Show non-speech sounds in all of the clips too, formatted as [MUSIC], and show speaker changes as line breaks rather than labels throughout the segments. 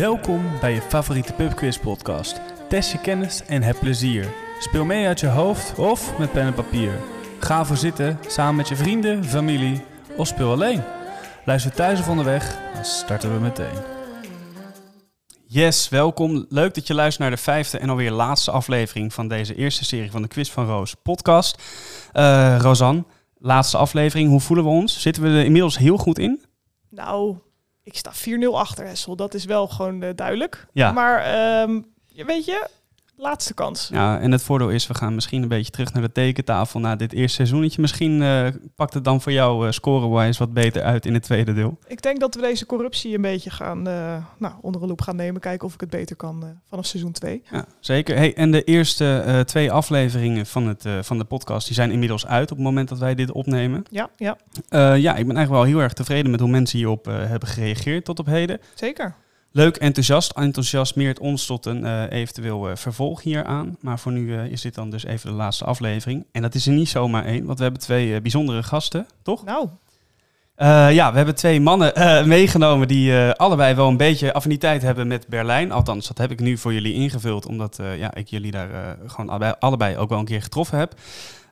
Welkom bij je favoriete pubquiz podcast. Test je kennis en heb plezier. Speel mee uit je hoofd of met pen en papier. Ga voor zitten samen met je vrienden, familie of speel alleen. Luister thuis of onderweg, dan starten we meteen. Yes, welkom. Leuk dat je luistert naar de vijfde en alweer laatste aflevering van deze eerste serie van de Quiz van Roos podcast. Eh Rosanne, laatste aflevering. Hoe voelen we ons? Zitten we er inmiddels heel goed in?
Nou, ik sta 4-0 achter Hessel. Dat is wel gewoon eh, duidelijk.
Ja.
Maar ehm, je weet je, laatste kans.
Ja, en het voordeel is, we gaan misschien een beetje terug naar de tekentafel na dit eerste seizoentje. Misschien eh, pakt het dan voor jou eh, score-wise wat beter uit in het tweede deel.
Ik denk dat we deze corruptie een beetje gaan eh, nou, onder de loep gaan nemen. Kijken of ik het beter kan eh, vanaf seizoen 2.
Ja, zeker. Hey, en de eerste eh, twee afleveringen van, het, eh, van de podcast die zijn inmiddels uit op het moment dat wij dit opnemen.
Ja, ja,
Eh, ja, ik ben eigenlijk wel heel erg tevreden met hoe mensen hierop eh, hebben gereageerd tot op heden.
zeker.
Leuk, enthousiast. Enthousiasmeert ons tot een eh, eventueel eh, vervolg hieraan. Maar voor nu eh, is dit dan dus even de laatste aflevering. En dat is er niet zomaar één, want we hebben twee eh, bijzondere gasten, toch?
Nou,
Eh, ja, we hebben twee mannen eh, meegenomen die eh, allebei wel een beetje affiniteit hebben met Berlijn. Althans, dat heb ik nu voor jullie ingevuld, omdat eh, ja, ik jullie daar eh, gewoon allebei, allebei ook wel een keer getroffen heb.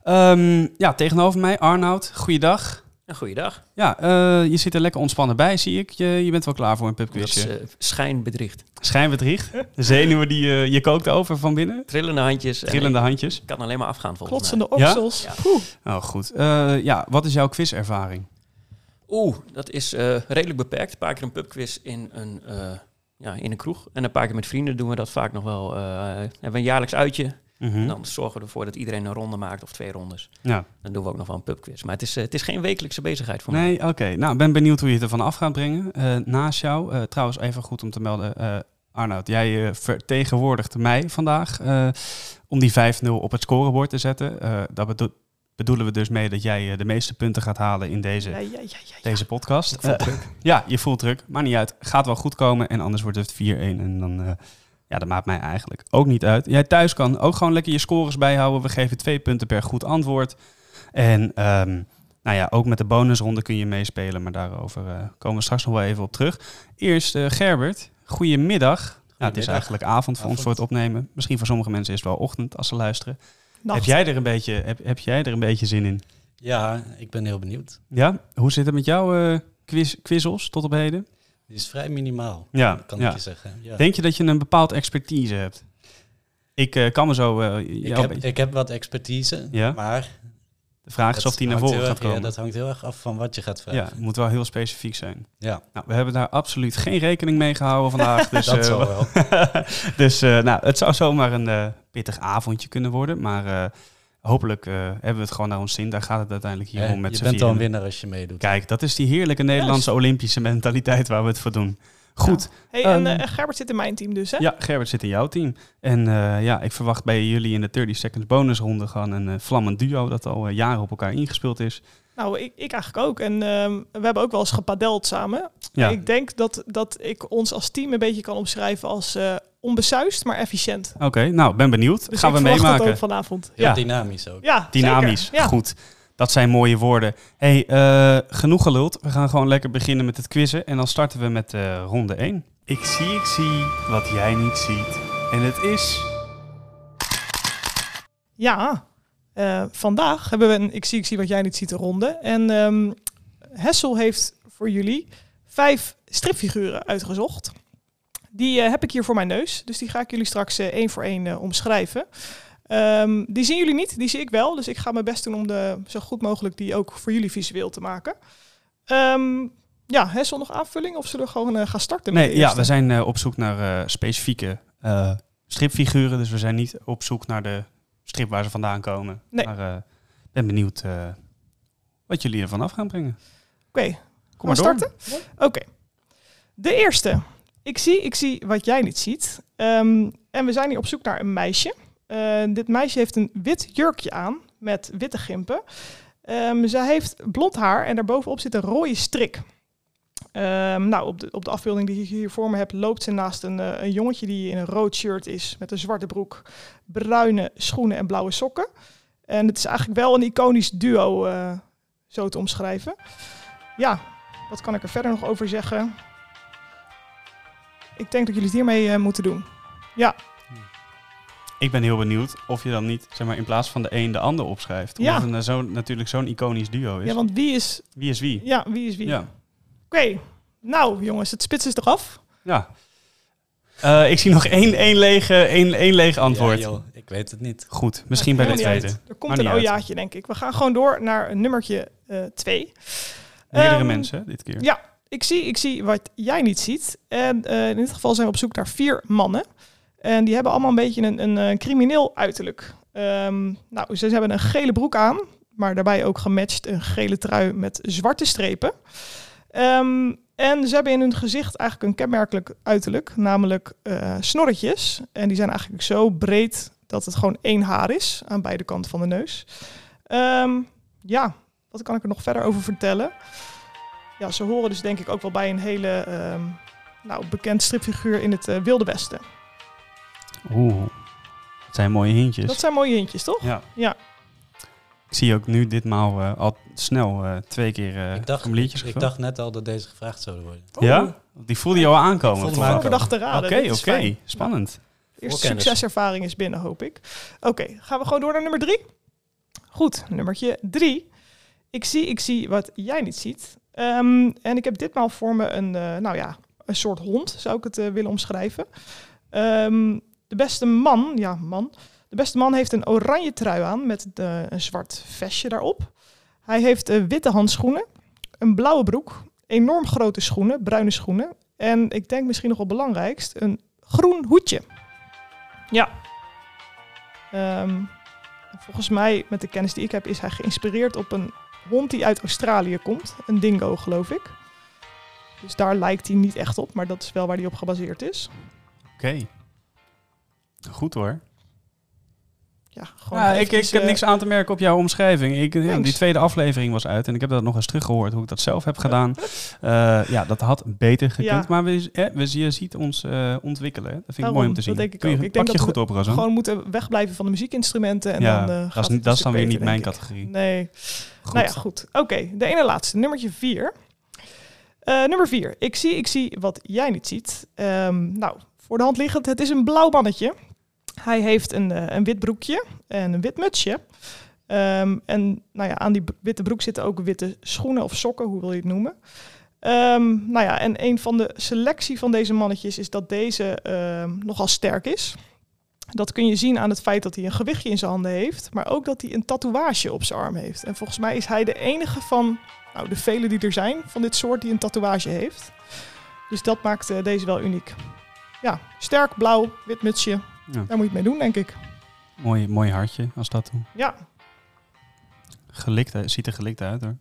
Ehm, ja, tegenover mij Arnoud, goeiedag.
Nou, goeiedag.
Ja, eh, je zit er lekker ontspannen bij, zie ik. Je, je bent wel klaar voor een
Dat is
pubquizje.
eh, schijnbedriegt.
Schijnbedriegt. De zenuwen die eh, je kookt over van binnen.
Trillende handjes. en
Trillende handjes.
ik kan alleen maar afgaan volgens
klotsende
Ja?
oksels.
Ja.
Poeh.
Oh, goed. Eh, ja, wat is jouw quizervaring?
mij. Oeh, dat is eh, redelijk beperkt. Een paar keer een pubquiz in een, eh, ja, in een kroeg. En een paar keer met vrienden doen we dat vaak nog wel. eh, hebben we een jaarlijks uitje.
Mhm.
En dan zorgen we ervoor dat iedereen een ronde maakt of twee rondes.
Ja.
Dan doen we ook nog wel een pubquiz. Maar het is, eh, het is geen wekelijkse bezigheid voor mij.
Nee, oké. Nou, ik ben benieuwd hoe je het ervan af gaat brengen. Eh, naast jou, eh, trouwens even goed om te melden, eh Arnoud, jij eh, vertegenwoordigt mij vandaag eh, om die 5-0 op het scorebord te zetten. Eh dat bedo- bedoelen we dus mee dat jij eh, de meeste punten gaat halen in deze,
Ja, ja, ja, ja, ja.
deze podcast.
Ik voel
Eh, ja, je voelt druk, maar niet uit. Gaat wel goed komen en anders wordt het 4-1 en dan... eh, ja, dat maakt mij eigenlijk ook niet uit. Jij thuis kan ook gewoon lekker je scores bijhouden. We geven twee punten per goed antwoord. En ehm, nou ja, ook met de bonusronde kun je meespelen, maar daarover eh, komen we straks nog wel even op terug. Eerst eh, Gerbert, goedemiddag. Ja, het is
Goedemiddag.
eigenlijk avond voor ons
Avond.
voor het opnemen. Misschien voor sommige mensen is het wel ochtend als ze luisteren.
Nacht.
Heb jij, er een beetje, heb, heb jij er een beetje zin in?
Ja, ik ben heel benieuwd.
Ja? Hoe zit het met jouw eh, quiz, quizzels tot op heden?
Het is vrij minimaal,
Ja,
kan
ja.
ik je zeggen. Ja.
Denk je dat je een bepaald expertise hebt? Ik eh, kan me zo... eh,
ik,
jou
heb,
een beetje-
ik heb wat expertise,
Ja?
maar...
De vraag is
dat
of die naar
hangt
voren
heel
gaat
erg- ja,
komen. Ja,
dat hangt heel erg af van wat je gaat vragen.
het moet wel heel specifiek zijn.
Ja,
Nou, we hebben daar absoluut geen rekening mee gehouden
[LAUGHS]
vandaag. Dus,
dat
eh,
zal
[LAUGHS]
wel.
dus eh, nou, het zou zomaar een eh, pittig avondje kunnen worden. Maar eh, hopelijk eh, hebben we het gewoon naar ons zin. Daar gaat het uiteindelijk hier om
Hè,
met
Eh, je
z'n
bent al een
vieren.
winnaar als je meedoet.
Kijk, dat is die heerlijke Nederlandse Olympische mentaliteit waar we het voor doen. Goed,
Hey, en
Ehm,
eh, Gerbert zit in mijn team dus, hè?
ja, Gerbert zit in jouw team. En eh, ja, ik verwacht bij jullie in de 30 seconds bonusronde gewoon een eh, vlammend duo dat al eh, jaren op elkaar ingespeeld is.
Nou, ik, ik eigenlijk ook. En ehm, we hebben ook wel eens gepadeld samen.
Ja,
Ik denk dat, dat ik ons als team een beetje kan omschrijven als eh, onbesuist, maar efficiënt.
oké. Nou, ben benieuwd.
Dus
Gaan
ik
we
verwacht
meemaken.
dat ook vanavond.
Heel
ja.
dynamisch ook.
Ja,
Dynamisch,
zeker. Ja.
goed. Dat zijn mooie woorden. hey, eh, genoeg geluld. We gaan gewoon lekker beginnen met het quizzen. En dan starten we met eh, ronde 1. Ik zie, ik zie wat jij niet ziet. En het is...
Ja, eh, vandaag hebben we een Ik zie, ik zie wat jij niet ziet ronde. En ehm, Hessel heeft voor jullie vijf stripfiguren uitgezocht. Die eh, heb ik hier voor mijn neus, dus die ga ik jullie straks eh, één voor één eh, omschrijven. Ehm, die zien jullie niet, die zie ik wel. Dus ik ga mijn best doen om de, zo goed mogelijk die ook voor jullie visueel te maken. Ehm, ja, Hessel, nog aanvulling? Of zullen we gewoon eh, gaan starten? met
Nee,
de
ja,
eerste?
we zijn eh, op zoek naar eh, specifieke eh, stripfiguren. Dus we zijn niet op zoek naar de strip waar ze vandaan komen.
Nee.
Maar eh, ik ben benieuwd eh, wat jullie ervan af gaan brengen.
Oké,
Kom maar
we
door.
starten? Oké. De eerste. Ik zie, ik zie wat jij niet ziet. Ehm, en we zijn hier op zoek naar een meisje. Eh, dit meisje heeft een wit jurkje aan met witte gimpen. Ehm, zij heeft blond haar en daarbovenop zit een rode strik. Ehm, nou, op de, op de afbeelding die ik hier voor me heb, loopt ze naast een, eh, een jongetje die in een rood shirt is met een zwarte broek, bruine schoenen en blauwe sokken. En het is eigenlijk wel een iconisch duo, eh, zo te omschrijven. Ja, wat kan ik er verder nog over zeggen? Ik denk dat jullie het hiermee eh, moeten doen.
Ik ben heel benieuwd of je dan niet zeg maar, in plaats van de een de ander opschrijft. Omdat
Ja.
het een, eh, zo, natuurlijk zo'n iconisch duo is.
Ja, want wie is,
Wie is wie?
ja, wie is wie?
Ja.
Oké, nou jongens, het spits is eraf.
Ja. Eh, ik zie nog één, één, lege, één, één leeg antwoord.
Ja, joh, ik weet het niet.
Goed, misschien bij de
Maakt Nou, helemaal
tweede.
niet uit. Er komt
Maakt
een
niet uit.
ojaatje, denk ik. We gaan gewoon door naar nummertje eh, 2.
Meerdere
Ehm,
mensen hè, dit keer.
ja. ik, zie, ik zie wat jij niet ziet. En eh, in dit geval zijn we op zoek naar vier mannen. En die hebben allemaal een beetje een, een, eh, crimineel uiterlijk. Ehm, nou, ze hebben een gele broek aan, maar daarbij ook gematcht een gele trui met zwarte strepen. Ehm, en ze hebben in hun gezicht eigenlijk een kenmerkelijk uiterlijk, namelijk eh, snorretjes. En die zijn eigenlijk zo breed dat het gewoon één haar is aan beide kanten van de neus. Ehm, ja, wat kan ik er nog verder over vertellen? ja, ze horen dus denk ik ook wel bij een hele ehm, nou, bekend stripfiguur in het eh, Wilde Westen.
Oeh, het zijn mooie hintjes.
Dat zijn mooie hintjes, toch?
Ja.
Ja.
Ik zie ook nu ditmaal eh, al snel eh, twee keer eh
ik, dacht,
formuliertjes
ik, ik
gevuld.
dacht oh. net al dat deze gevraagd zouden worden.
Ja? Die voelde jou aankomen.
Ik voelde
toch?
hem
Oké,
aankomen.
Overdag te raden.
oké.
Dit is fijn.
Spannend.
Eerste
Voorkennis.
succeservaring is binnen, hoop ik. Oké, gaan we gewoon door naar nummer drie? Goed, nummertje drie. Ik zie, ik zie wat jij niet ziet. Ehm, en ik heb ditmaal voor me een, eh, nou ja, een soort hond, zou ik het eh, willen omschrijven. Ehm, de beste man, ja, man. De beste man heeft een oranje trui aan met eh, een zwart vestje daarop. Hij heeft eh, witte handschoenen, een blauwe broek, enorm grote schoenen, bruine schoenen. En ik denk misschien nog wel belangrijkst, een groen hoedje. Ja. Ehm, volgens mij, met de kennis die ik heb, is hij geïnspireerd op een hond die uit Australië komt. Een dingo, geloof ik. Dus daar lijkt hij niet echt op, maar dat is wel waar hij op gebaseerd is.
Oké. Goed hoor.
Ja, gewoon
Ja, ik, ik
eventjes,
heb
eh,
niks aan te merken op jouw omschrijving. Ik, ja, die
thanks.
tweede aflevering was uit en ik heb dat nog eens teruggehoord hoe ik dat zelf heb gedaan. Eh, ja, dat had beter gekund.
Ja.
Maar we, eh, we, je ziet ons eh, ontwikkelen. hè. Dat vind ik
Daarom,
mooi om te
dat
zien.
denk ik
Doe je,
ook. Ik denk
pak je
dat
goed op, Razan.
Gewoon moeten wegblijven van de muziekinstrumenten. En
ja,
dan, eh, gaat
dat is,
het
niet- dat is
een
dan weer
stuk
niet
beter,
mijn
denk ik.
categorie.
Nee,
Goed.
Nou ja, goed. Oké, de ene laatste, nummertje vier. Eh, nummer vier. Ik zie, ik zie wat jij niet ziet. Ehm, nou, voor de hand liggend, het is een blauw mannetje. Hij heeft een, eh, een wit broekje en een wit mutsje. Ehm, en nou ja, aan die b- witte broek zitten ook witte schoenen of sokken, hoe wil je het noemen. Ehm, nou ja, en een van de selectie van deze mannetjes is dat deze ehm, nogal sterk is. Dat kun je zien aan het feit dat hij een gewichtje in zijn handen heeft, maar ook dat hij een tatoeage op zijn arm heeft. En volgens mij is hij de enige van nou, de vele die er zijn van dit soort die een tatoeage heeft. Dus dat maakt eh, deze wel uniek. Ja, sterk, blauw, wit mutsje.
Ja.
Daar moet je het mee doen, denk ik.
Mooi, mooi hartje als dat toe.
Ja,
Gelikt, hè. ziet er gelikt uit hoor.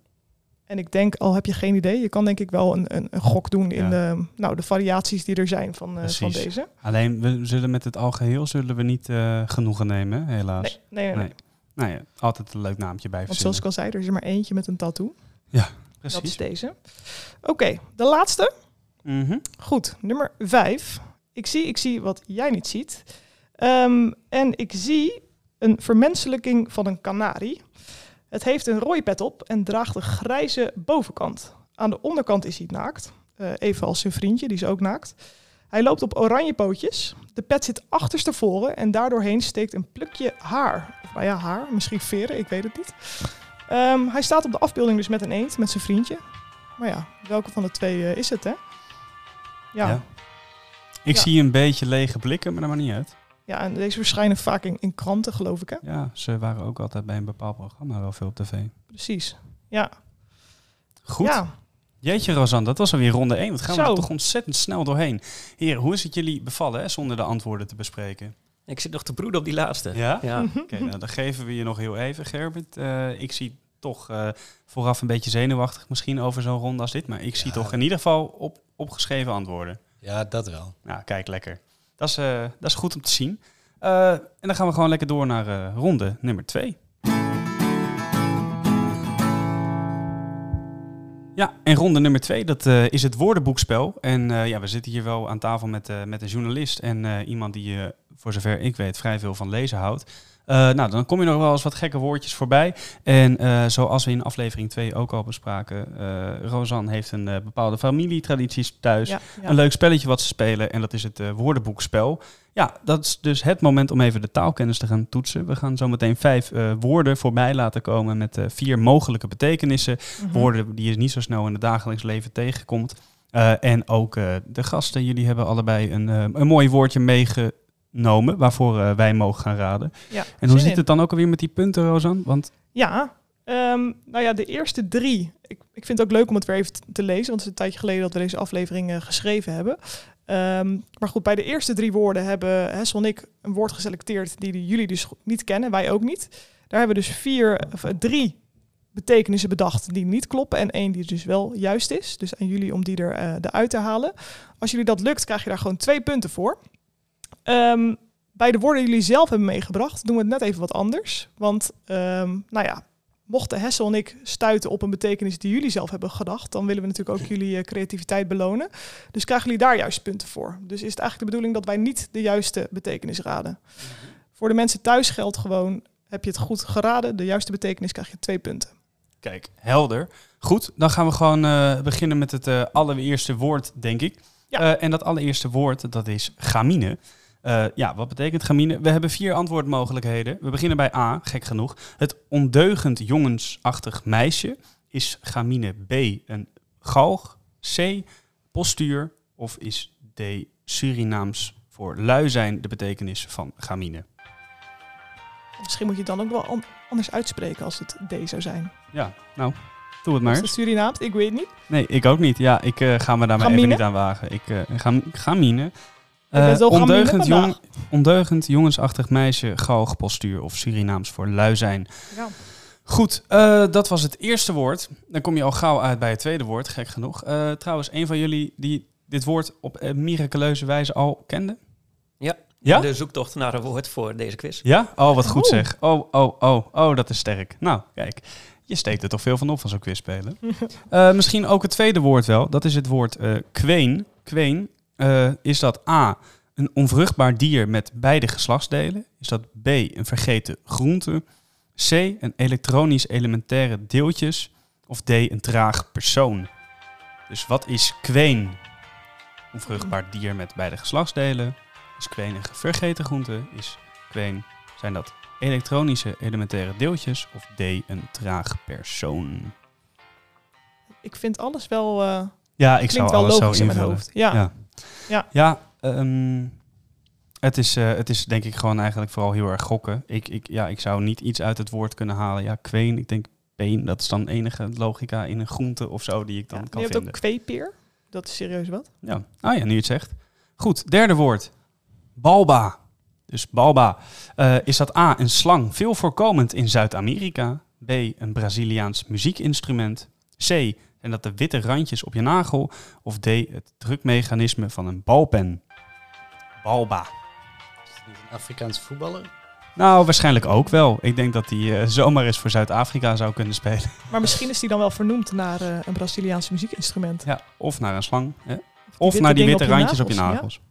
en ik denk, al heb je geen idee, je kan denk ik wel een, een, een gok doen in
Ja.
de, nou, de variaties die er zijn van, eh, van
Precies.
deze.
Alleen, we zullen met het algeheel zullen we niet eh, genoegen nemen, hè, helaas.
Nee, nee, nee.
Nee. Nou ja, altijd een leuk naamtje bij
Want zoals ik al zei, er is er maar eentje met een tattoo.
Precies.
Dat is deze. Oké, de laatste.
Mhm.
Goed, nummer 5. Ik zie, ik zie wat jij niet ziet. Ehm, en ik zie een vermenselijking van een kanarie. Het heeft een rooipet op en draagt een grijze bovenkant. Aan de onderkant is hij naakt, eh, evenals zijn vriendje, die is ook naakt. Hij loopt op oranje pootjes. De pet zit achterstevoren en daardoorheen steekt een plukje haar. Of nou ja, haar, misschien veren, ik weet het niet. Ehm, hij staat op de afbeelding dus met een eend, met zijn vriendje. Maar ja, welke van de twee eh, is het, hè?
Ja.
ja.
Ik
Ja.
zie een beetje lege blikken, maar dat maakt niet uit.
Ja, en deze verschijnen vaak in, in kranten, geloof ik. Hè?
Ja, ze waren ook altijd bij een bepaald programma wel veel op tv.
Precies. Ja.
Goed.
Ja.
Jeetje, Rosanne, dat was alweer ronde 1. Wat gaan we
Zo.
er toch ontzettend snel doorheen. Heren, hoe is het jullie bevallen hè, zonder de antwoorden te bespreken?
Ik zit nog te broeden op die laatste.
Ja? Oké,
Ja.
nou, dan geven we je nog heel even, Gerbert. Eh, ik zie toch eh, vooraf een beetje zenuwachtig misschien over zo'n ronde als dit. Maar ik zie
Ja.
toch in ieder geval op, opgeschreven antwoorden.
Ja, dat wel.
Nou, kijk, lekker. Dat is, eh, dat is goed om te zien. Eh, en dan gaan we gewoon lekker door naar eh, ronde nummer 2. Ja, en ronde nummer 2, dat eh, is het woordenboekspel. En eh, ja, we zitten hier wel aan tafel met, eh, met een journalist en eh, iemand die eh, voor zover ik weet, vrij veel van lezen houdt. Eh, nou, dan kom je nog wel eens wat gekke woordjes voorbij. En eh, zoals we in aflevering 2 ook al bespraken, eh Rosanne heeft een eh, bepaalde familietradities thuis.
ja, ja.
Dus Een leuk spelletje wat ze spelen en dat is het eh, woordenboekspel. Ja, dat is dus het moment om even de taalkennis te gaan toetsen. We gaan zometeen vijf eh, woorden voorbij laten komen met eh, vier mogelijke betekenissen.
Mhm.
Woorden die je niet zo snel in het dagelijks leven tegenkomt. Eh, en ook eh, de gasten, jullie hebben allebei een, eh, een mooi woordje meegenomen waarvoor eh, wij mogen gaan raden.
Ja,
En hoe
zin
zit
in.
het dan ook alweer met die punten, Rosan? Want
Ja, ehm, nou ja, de eerste drie. Ik, ik vind het ook leuk om het weer even t- te lezen, want het is een tijdje geleden dat we deze aflevering eh, geschreven hebben. Ehm, maar goed, bij de eerste drie woorden hebben Hessel en ik een woord geselecteerd die de- jullie dus niet kennen, wij ook niet. Daar hebben we dus vier, of, eh, drie betekenissen bedacht die niet kloppen en één die dus wel juist is. Dus aan jullie om die er eh, de uit te halen. Als jullie dat lukt, krijg je daar gewoon twee punten voor. Ehm, bij de woorden die jullie zelf hebben meegebracht, doen we het net even wat anders. Want, ehm, nou ja, mochten Hessel en ik stuiten op een betekenis die jullie zelf hebben gedacht, dan willen we natuurlijk ook jullie eh, creativiteit belonen. Dus krijgen jullie daar juist punten voor. Dus is het eigenlijk de bedoeling dat wij niet de juiste betekenis raden. Voor de mensen thuis geldt gewoon, heb je het goed geraden, de juiste betekenis krijg je twee punten.
Kijk, helder. Goed, dan gaan we gewoon eh, beginnen met het eh, allereerste woord, denk ik.
Ja.
Eh, en dat allereerste woord, dat is gamine. Eh, ja, wat betekent gamine? We hebben vier antwoordmogelijkheden. We beginnen bij A, gek genoeg. Het ondeugend jongensachtig meisje is gamine B een galg, C postuur of is D Surinaams voor lui zijn de betekenis van gamine?
Misschien moet je het dan ook wel an- anders uitspreken als het D zou zijn.
Ja, nou, doe het
Is
maar.
dat Surinaams? Ik weet het niet.
Nee, ik ook niet. Ja, ik eh, ga me daar maar even
Gamine?
niet aan wagen. Ik eh, ga, ga minen.
bent wel
Eh,
gaan minen
ondeugend,
vandaag.
ondeugend, jongensachtig meisje, galg, postuur of Surinaams voor lui zijn.
Ja.
Goed, eh, dat was het eerste woord. Dan kom je al gauw uit bij het tweede woord, gek genoeg. Eh, trouwens, een van jullie die dit woord op een miraculeuze wijze al kende?
Ja.
Ja?
De zoektocht naar een woord voor deze quiz.
Ja? Oh, wat goed
Oeh.
zeg. Oh, oh, oh, oh, dat is sterk. Nou, kijk. Je steekt er toch veel van op van zo'n quiz spelen. misschien ook het tweede woord wel. Dat is het woord eh, kween. Kween eh, is dat A, een onvruchtbaar dier met beide geslachtsdelen? Is dat B, een vergeten groente? C, een elektronisch elementaire deeltjes? Of D, een traag persoon? Dus wat is kween? Onvruchtbaar dier met beide geslachtsdelen. Is kween een vergeten groente? Is kween, zijn dat elektronische elementaire deeltjes of D, een traag persoon?
Ik vind alles wel, eh,
Ja, ik
klinkt
zou
wel
alles zo
logisch in mijn
invullen.
hoofd. Ja.
Ja.
Ja.
Ja, ehm, het, is, eh, het is denk ik gewoon eigenlijk vooral heel erg gokken. Ik, ik, ja, ik zou niet iets uit het woord kunnen halen. Ja, kween, ik denk peen, dat is dan enige logica in een groente of zo die ik dan
Ja,
kan
je hebt
vinden.
ook kweepeer. Dat is serieus wat.
Ja. Ah ja, nu je het zegt. Goed, derde woord. Balba. Dus balba. Eh, is dat A, een slang, veel voorkomend in Zuid-Amerika? B, een Braziliaans muziekinstrument? C, zijn dat de witte randjes op je nagel? Of D, het drukmechanisme van een balpen? Balba.
Is het niet een Afrikaans voetballer?
Nou, waarschijnlijk ook wel. Ik denk dat die eh, zomaar eens voor Zuid-Afrika zou kunnen spelen.
Maar misschien is die dan wel vernoemd naar eh, een Braziliaanse muziekinstrument.
Ja, of naar een slang. Hè? Of
witte
naar die
dingen
witte
op je
randjes op je
nagels, ja.
nagels.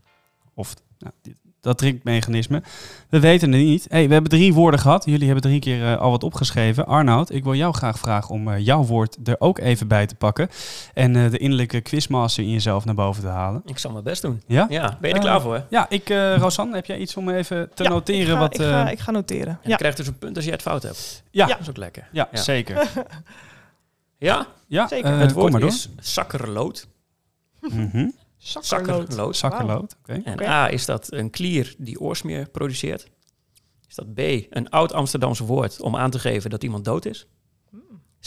Of nou, dit- dat drinkmechanisme. We weten het niet. Hey, we hebben drie woorden gehad. Jullie hebben drie keer eh, al wat opgeschreven. Arnoud, ik wil jou graag vragen om eh, jouw woord er ook even bij te pakken. En eh, de innerlijke quizmaster in jezelf naar boven te halen.
Ik zal mijn best doen.
Ja?
Ja, ben je
Eh,
er klaar voor? Hè? En
Ja, ik, eh Rosanne, heb jij iets om even te
Ja,
noteren?
Ik ga,
wat,
ik, ga,
eh,
ik ga noteren.
je
Ja.
krijgt dus een punt als je het fout hebt.
Ja.
Dat is ook lekker.
ja,
Ja.
zeker.
[LAUGHS]
Ja,
Ja,
Zeker.
eh,
het
kom
woord
maar door.
is zakkerlood.
Mhm.
Zakkerlood.
Zakkerlood.
Zakkerlood. Oké.
En
Oké.
A, is dat een klier die oorsmeer produceert? Is dat B, een oud Amsterdamse woord om aan te geven dat iemand dood is?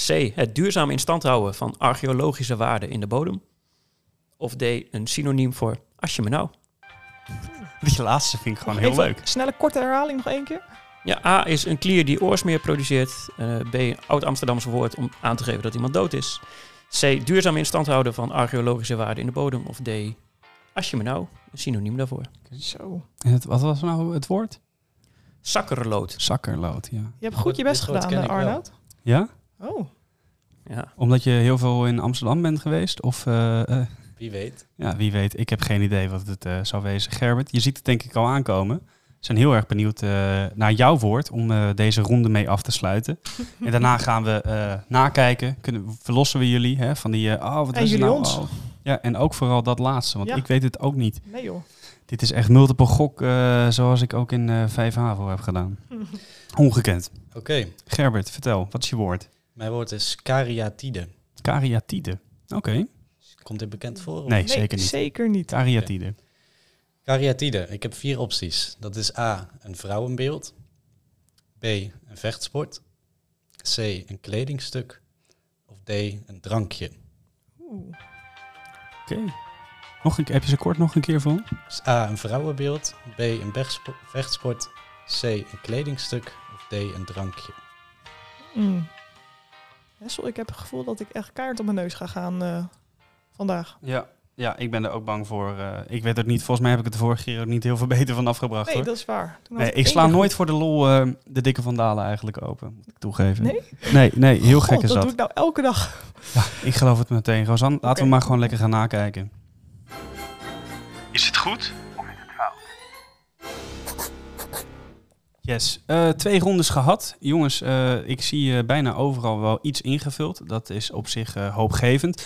C, het duurzaam in stand houden van archeologische waarden in de bodem? Of D, een synoniem voor als je me nou?
Die laatste vind ik gewoon heel
Even
leuk.
Snelle korte herhaling nog één keer.
Ja, A is een klier die oorsmeer produceert. Eh, B, een oud Amsterdamse woord om aan te geven dat iemand dood is. C, duurzaam in stand houden van archeologische waarden in de bodem. Of D, als je me nou, een synoniem daarvoor.
Zo.
Het, wat was nou het woord?
Zakkerlood.
Zakkerlood, ja.
Je hebt goed je best
Dit woord
gedaan,
ken
eh,
ik wel.
Arnoud.
Ja?
Oh,
Ja.
Omdat je heel veel in Amsterdam bent geweest? Of eh, eh,
Wie weet.
ja, wie weet, ik heb geen idee wat het eh zou wezen. Gerbert, je ziet het denk ik al aankomen. zijn heel erg benieuwd eh, naar jouw woord om eh, deze ronde mee af te
[LAUGHS]
sluiten. en daarna gaan we eh, nakijken. Kunnen, verlossen we jullie hè, van die... eh, oh, wat
En
is er
jullie
nou?
ons.
Oh. Ja, en ook vooral dat laatste, want
Ja.
ik weet het ook niet.
Nee joh.
Dit is echt multiple gok, eh, zoals ik ook in eh 5 HAVO heb
[LAUGHS]
gedaan. Ongekend.
Oké,
Gerbert, vertel, wat is je woord?
mijn woord is kariatide.
Kariatide. Oké.
Komt dit bekend voor? of-
Nee, zeker niet.
Zeker niet.
Kariatide.
Kariatide. Ik heb vier opties. Dat is A, een vrouwenbeeld. B, een vechtsport. C, een kledingstuk. Of D, een drankje.
Oeh.
Oké. Nog een- Heb je ze kort nog een keer van?
Dus A, een vrouwenbeeld. B, een bechtspo- vechtsport. C, een kledingstuk. Of D, een drankje.
Mm. Hessel, ik heb het gevoel dat ik echt kaart op mijn neus ga gaan eh, vandaag.
Ja. Ja, ik ben er ook bang voor. eh, ik weet het niet. Volgens mij heb ik het de vorige keer ook niet heel veel [LAUGHS] beter van afgebracht.
Nee,
hoor.
dat is waar. Toen had
nee,
één
ik sla
keer
nooit voor de lol eh, de dikke vandalen eigenlijk open. Moet ik toegeven.
Nee?
Nee, nee heel
goed.
gek
God,
is
dat
dat.
doe ik nou elke dag.
Ik geloof het meteen. Rosanne, laten
Oké.
we maar gewoon lekker gaan nakijken.
Is het goed?
Yes. Eh, twee rondes gehad. Jongens, eh, ik zie eh, bijna overal wel iets ingevuld. Dat is op zich eh, hoopgevend.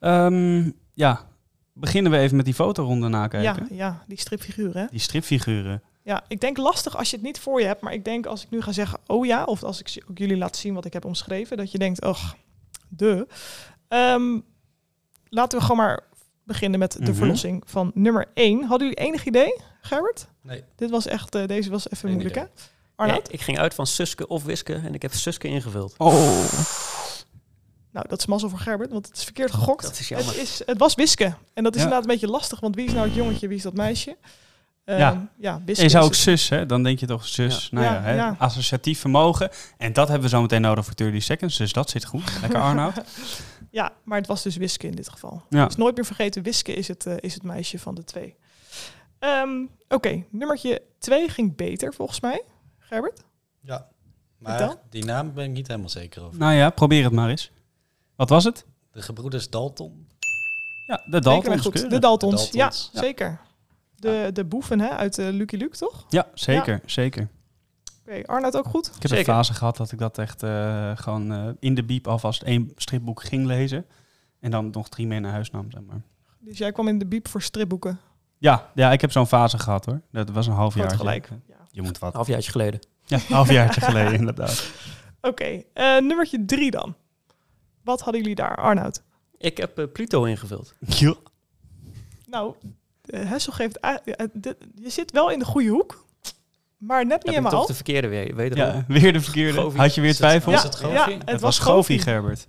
Ehm, ja, beginnen we even met die fotoronde
Ja,
nakijken.
ja, die stripfiguur hè.
Die stripfiguren.
Ja, ik denk lastig als je het niet voor je hebt. Maar ik denk als ik nu ga zeggen, oh ja, of als ik z- ook jullie laat zien wat ik heb omschreven, dat je denkt, och, de. Ehm, laten we gewoon maar beginnen met de
Mhm.
verlossing van nummer 1. Hadden jullie enig idee, Gerrit?
Nee.
Dit was echt, eh, deze was even
Geen
moeilijk
idee.
hè? Arnoud?
Ja, ik ging uit van Suske of Wiske en ik heb Suske ingevuld.
Oh.
Nou, dat is mazzel voor Gerbert, want het is verkeerd gegokt.
Dat is jammer.
het, is, het was Wiske. En dat is
Ja.
inderdaad een beetje lastig, want wie is nou het jongetje, wie is dat meisje? Ehm,
Ja.
ja Wiske
Je zou
is
ook zus, hè? Dan denk je toch zus.
Ja.
Nou ja,
Ja,
hè?
ja.
associatief vermogen. En dat hebben we zo meteen nodig voor 30 seconds. Dus dat zit goed. Lekker Arnoud.
het. Ja, maar het was dus Wiske in dit geval.
Ja.
Dus nooit meer vergeten, Wiske is het, eh, is het meisje van de twee. Ehm, Oké, nummertje twee ging beter volgens mij, Gerbert.
Ja.
Vertel.
Maar die naam ben ik niet helemaal zeker over.
Nou ja, probeer het maar eens. Wat was het?
De gebroeders Dalton.
Ja, de
Zeker en
Daltons.
goed.
keurig.
De Daltons.
De Daltons.
Ja, zeker. De, de boeven hè, uit eh, Lucky Luke, toch? Oké,
Ja, zeker. zeker.
Arnoud ook goed?
Ik heb een
Zeker.
fase gehad dat ik dat echt eh, gewoon eh, in de biep alvast één stripboek ging lezen. En dan nog drie mee naar huis nam, zeg maar.
Dus jij kwam in de biep voor stripboeken.
Ja, ja ik heb zo'n fase gehad hoor. Dat was een half jaar.
Groot gelijk. Ja.
Je moet
Een
wat.
halfjaartje geleden.
Ja, een halfjaartje geleden [LAUGHS] inderdaad.
Oké, eh, nummertje drie dan. Wat hadden jullie daar, Arnoud?
Ik heb eh, Pluto ingevuld.
Ja.
Nou, eh, Hessel geeft... a- eh, dit- je zit wel in de goede hoek, maar net niet
Heb ik
helemaal.
toch de verkeerde weer, wederom.
Ja, weer de verkeerde.
Govie.
Had je weer
Is het-
twijfel?
was het Goofy?
ja,
Het
het was
was Goofy,
Goofy.
Gerbert.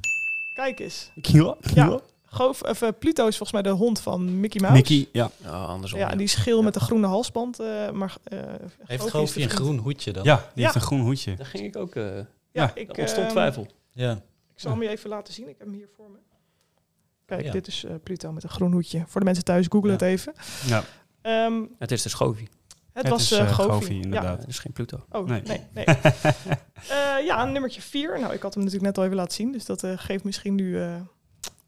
Kijk eens.
Ja.
Ja. Goof, of, eh, Pluto is volgens mij de hond van Mickey Mouse.
Mickey, ja.
Oh, andersom.
Ja,
ja.
en die is geel
Ja.
met een groene halsband. eh, maar, eh,
Heeft
is
Goofy
de
een
vriend.
groen hoedje dan?
Ja, die
Ja.
heeft een groen hoedje.
Daar ging ik ook... eh
Ja,
Ja,
ik,
daar ontstond
eh,
twijfel.
Ja.
Ik zal hem je even laten zien. Ik heb hem hier voor me. Kijk,
Ja.
dit is eh, Pluto met een groen hoedje. Voor de mensen thuis, google
Ja.
het even.
Ja.
Ehm,
Het is dus Govi.
het,
Het
was
is,
eh
eh,
Goofy.
Goofy,
Ja.
inderdaad.
Het is geen Pluto.
Oh, nee.
Nee.
nee, Eh, ja, nummertje 4. Nou, ik had hem natuurlijk net al even laten zien. Dus dat eh, geeft misschien nu... eh,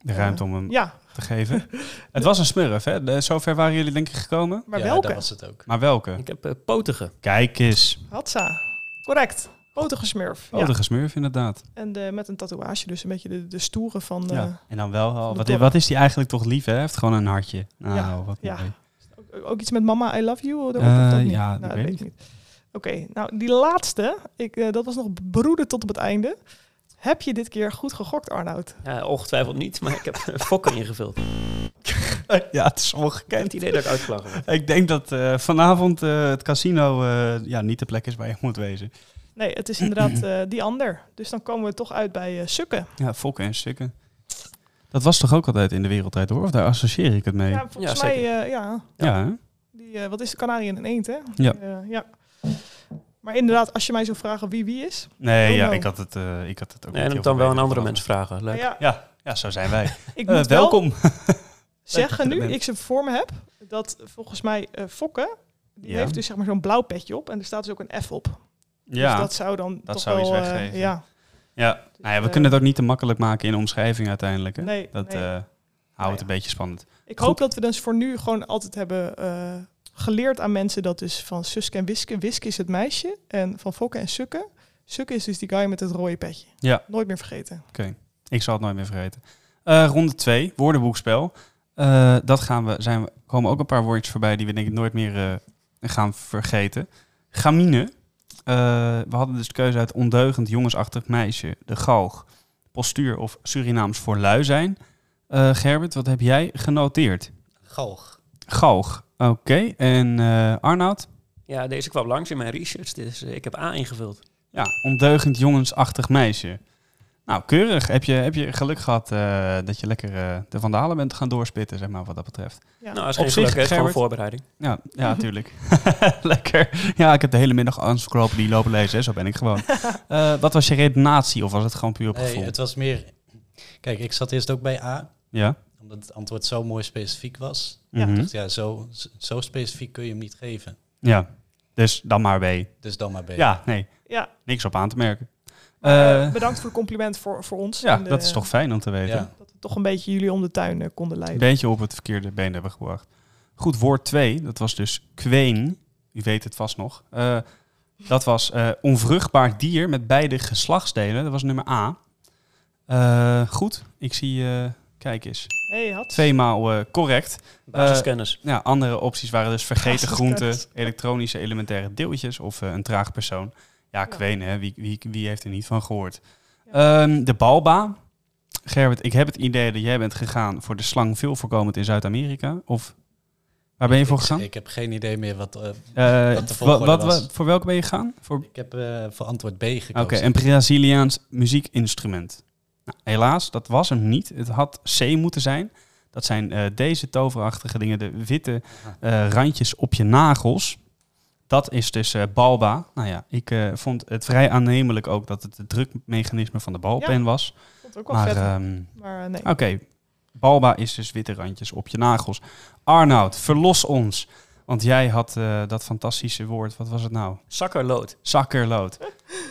De ruimte om hem
ja,
te geven. [LAUGHS] Het was een smurf, hè? De- Zover waren jullie denk ik gekomen.
maar
ja,
welke?
dat was het ook.
Maar welke?
Ik heb eh, Potige.
Kijk eens.
Hatsa. Correct. Potige smurf.
Oh,
ja.
de gesmurf inderdaad.
En eh, met een tatoeage. Dus een beetje de, de stoere van... eh,
Ja. En dan wel, al-
de
wat,
dorp.
wat is die eigenlijk toch lief, hè? Hij heeft gewoon een hartje. Nou,
Ja,
wat
ja.
mooi. [LAUGHS]
Ook, eh, ook iets met mama, I love you? Daarop,
Eh,
of dat niet?
ja,
Nou,
dat
dat
weet
weet
ik
ik niet. Oké, nou die laatste, ik, eh, dat was nog broeden tot op het einde. Heb je dit keer goed gegokt, Arnoud?
Ja, ongetwijfeld niet, maar ik heb
[LAUGHS]
eh, Fokke ingevuld. Ik
Ja, het is
heb
ongekend.
het idee dat ik uitgelachen word.
Ik denk dat eh, vanavond eh, het casino eh, ja, niet de plek is waar je moet wezen.
Nee, het is
[CLEARS THROAT]
inderdaad eh, die ander. Dus dan komen we toch uit bij eh Sukken.
Ja, fokken en sukken. Dat was toch ook altijd in de wereldtijd, hoor? Of daar associeer ik het mee? Ja,
Ja, volgens
Ja,
mij,
zeker.
eh, ja,
hè?
die, eh, wat is de kanarie en een eend, hè?
Ja.
Eh, ja. Maar inderdaad, als je mij zou vragen wie wie is...
Nee,
Oh,
ja,
no.
ik, had het, eh, ik had het ook niet
Nee, en
heel
het dan
veel
wel aan
beter
andere
verwacht.
mensen vragen. Leuk.
nou ja,
Ja, ja, zo zijn wij.
ik
Eh,
moet wel [LAUGHS]
welkom.
zeggen nu,
Compliment.
ik ze voor me heb, dat volgens mij eh Fokke, die
Ja.
heeft dus zeg maar zo'n blauw petje op en er staat dus ook een F op.
Ja,
Dus dat zou dan
dat
toch
zou iets
wel... eh,
weggeven.
ja.
ja. Nou ja we
eh,
kunnen het ook niet te makkelijk maken in de omschrijving uiteindelijk. Hè?
Nee,
dat
nee.
eh, houdt
Nou ja.
het een beetje spannend.
ik
goed.
hoop dat we dus voor nu gewoon altijd hebben eh, geleerd aan mensen dat dus van Suske en Wiske. Wiske is het meisje en van Fokke en Sukke. Sukke is dus die guy met het rode petje.
Ja.
Nooit meer vergeten.
Ik zal het nooit meer vergeten. Eh, ronde 2, woordenboekspel. Eh, dat gaan we, zijn we, komen ook een paar woordjes voorbij die we denk ik nooit meer eh, gaan vergeten. Gamine. Eh, we hadden dus de keuze uit ondeugend, jongensachtig meisje, de galg, postuur of Surinaams voor lui zijn. Eh, Gerbert, wat heb jij genoteerd?
Galg.
Galg. Oké, en eh Arnoud?
Ja, deze kwam langs in mijn research, dus eh, ik heb A ingevuld.
Ja, ondeugend, jongensachtig meisje. Nou, keurig. Heb je, heb je geluk gehad eh, dat je lekker eh, de vandalen bent gaan doorspitten, zeg maar, wat dat betreft.
Ja.
Nou, als
Op
geen
zich,
geluk, hè, het is gewoon
Gerrit.
voorbereiding.
Ja, ja,
Mhm.
natuurlijk. [LAUGHS] Lekker. Ja, ik heb de hele middag encyclopedie lopen lezen, hè. zo ben ik
[LAUGHS]
gewoon. Eh, wat was je redenatie of was het gewoon puur op
Nee,
gevoel?
het was meer... Kijk, ik zat eerst ook bij A,
Ja.
omdat het antwoord zo mooi specifiek was.
Ja.
Mhm.
Dus ja, zo, zo specifiek kun je hem niet geven.
ja. Dus dan maar B.
Dus dan maar B.
Ja, nee,
Ja,
niks op aan te merken.
maar, eh,
Eh,
bedankt voor het compliment voor, voor ons.
ja,
En de-
dat is toch fijn om te weten.
Ja.
Dat we toch een beetje jullie om de tuin eh, konden
Een
leiden.
beetje op het verkeerde been hebben gebracht. Goed, woord 2, dat was dus kween. U weet het vast nog. Eh, dat was eh, onvruchtbaar dier met beide geslachtsdelen. Dat was nummer A. Eh, goed, ik zie, eh, kijk eens.
hey, had.
Tweemaal eh, correct.
Basiskennis.
Ja, andere opties waren dus vergeten
Basiskennis.
groenten, elektronische elementaire deeltjes of eh, een traag persoon. Ja, kween, hè? Wie, wie, wie heeft er niet van gehoord? Ehm, de balba. Gerbert, ik heb het idee dat jij bent gegaan voor de slang veel voorkomend in Zuid-Amerika. Of waar ben je voor
Ik-
gegaan?
Ik, heb geen idee meer wat... eh,
Eh,
wat de
wa-
volgorde
wat,
was.
wa- voor welke ben je gegaan? Voor... Oké,
ik heb eh, voor antwoord B gekozen.
een Braziliaans muziekinstrument. Nou, helaas, dat was hem niet. Het had C moeten zijn. Dat zijn eh, deze toverachtige dingen, de witte
Aha.
eh, randjes op je nagels. Dat is dus eh, balba. Nou ja, ik eh, vond het vrij aannemelijk ook dat het het drukmechanisme van de balpen
Ja,
was.
Vond ook wel
Maar
vet.
ehm,
maar eh, nee.
oké, balba is dus witte randjes op je nagels. Arnoud, verlos ons. Want jij had eh, dat fantastische woord, wat was het nou?
Zakkerlood.
[LAUGHS]
Zakkerlood.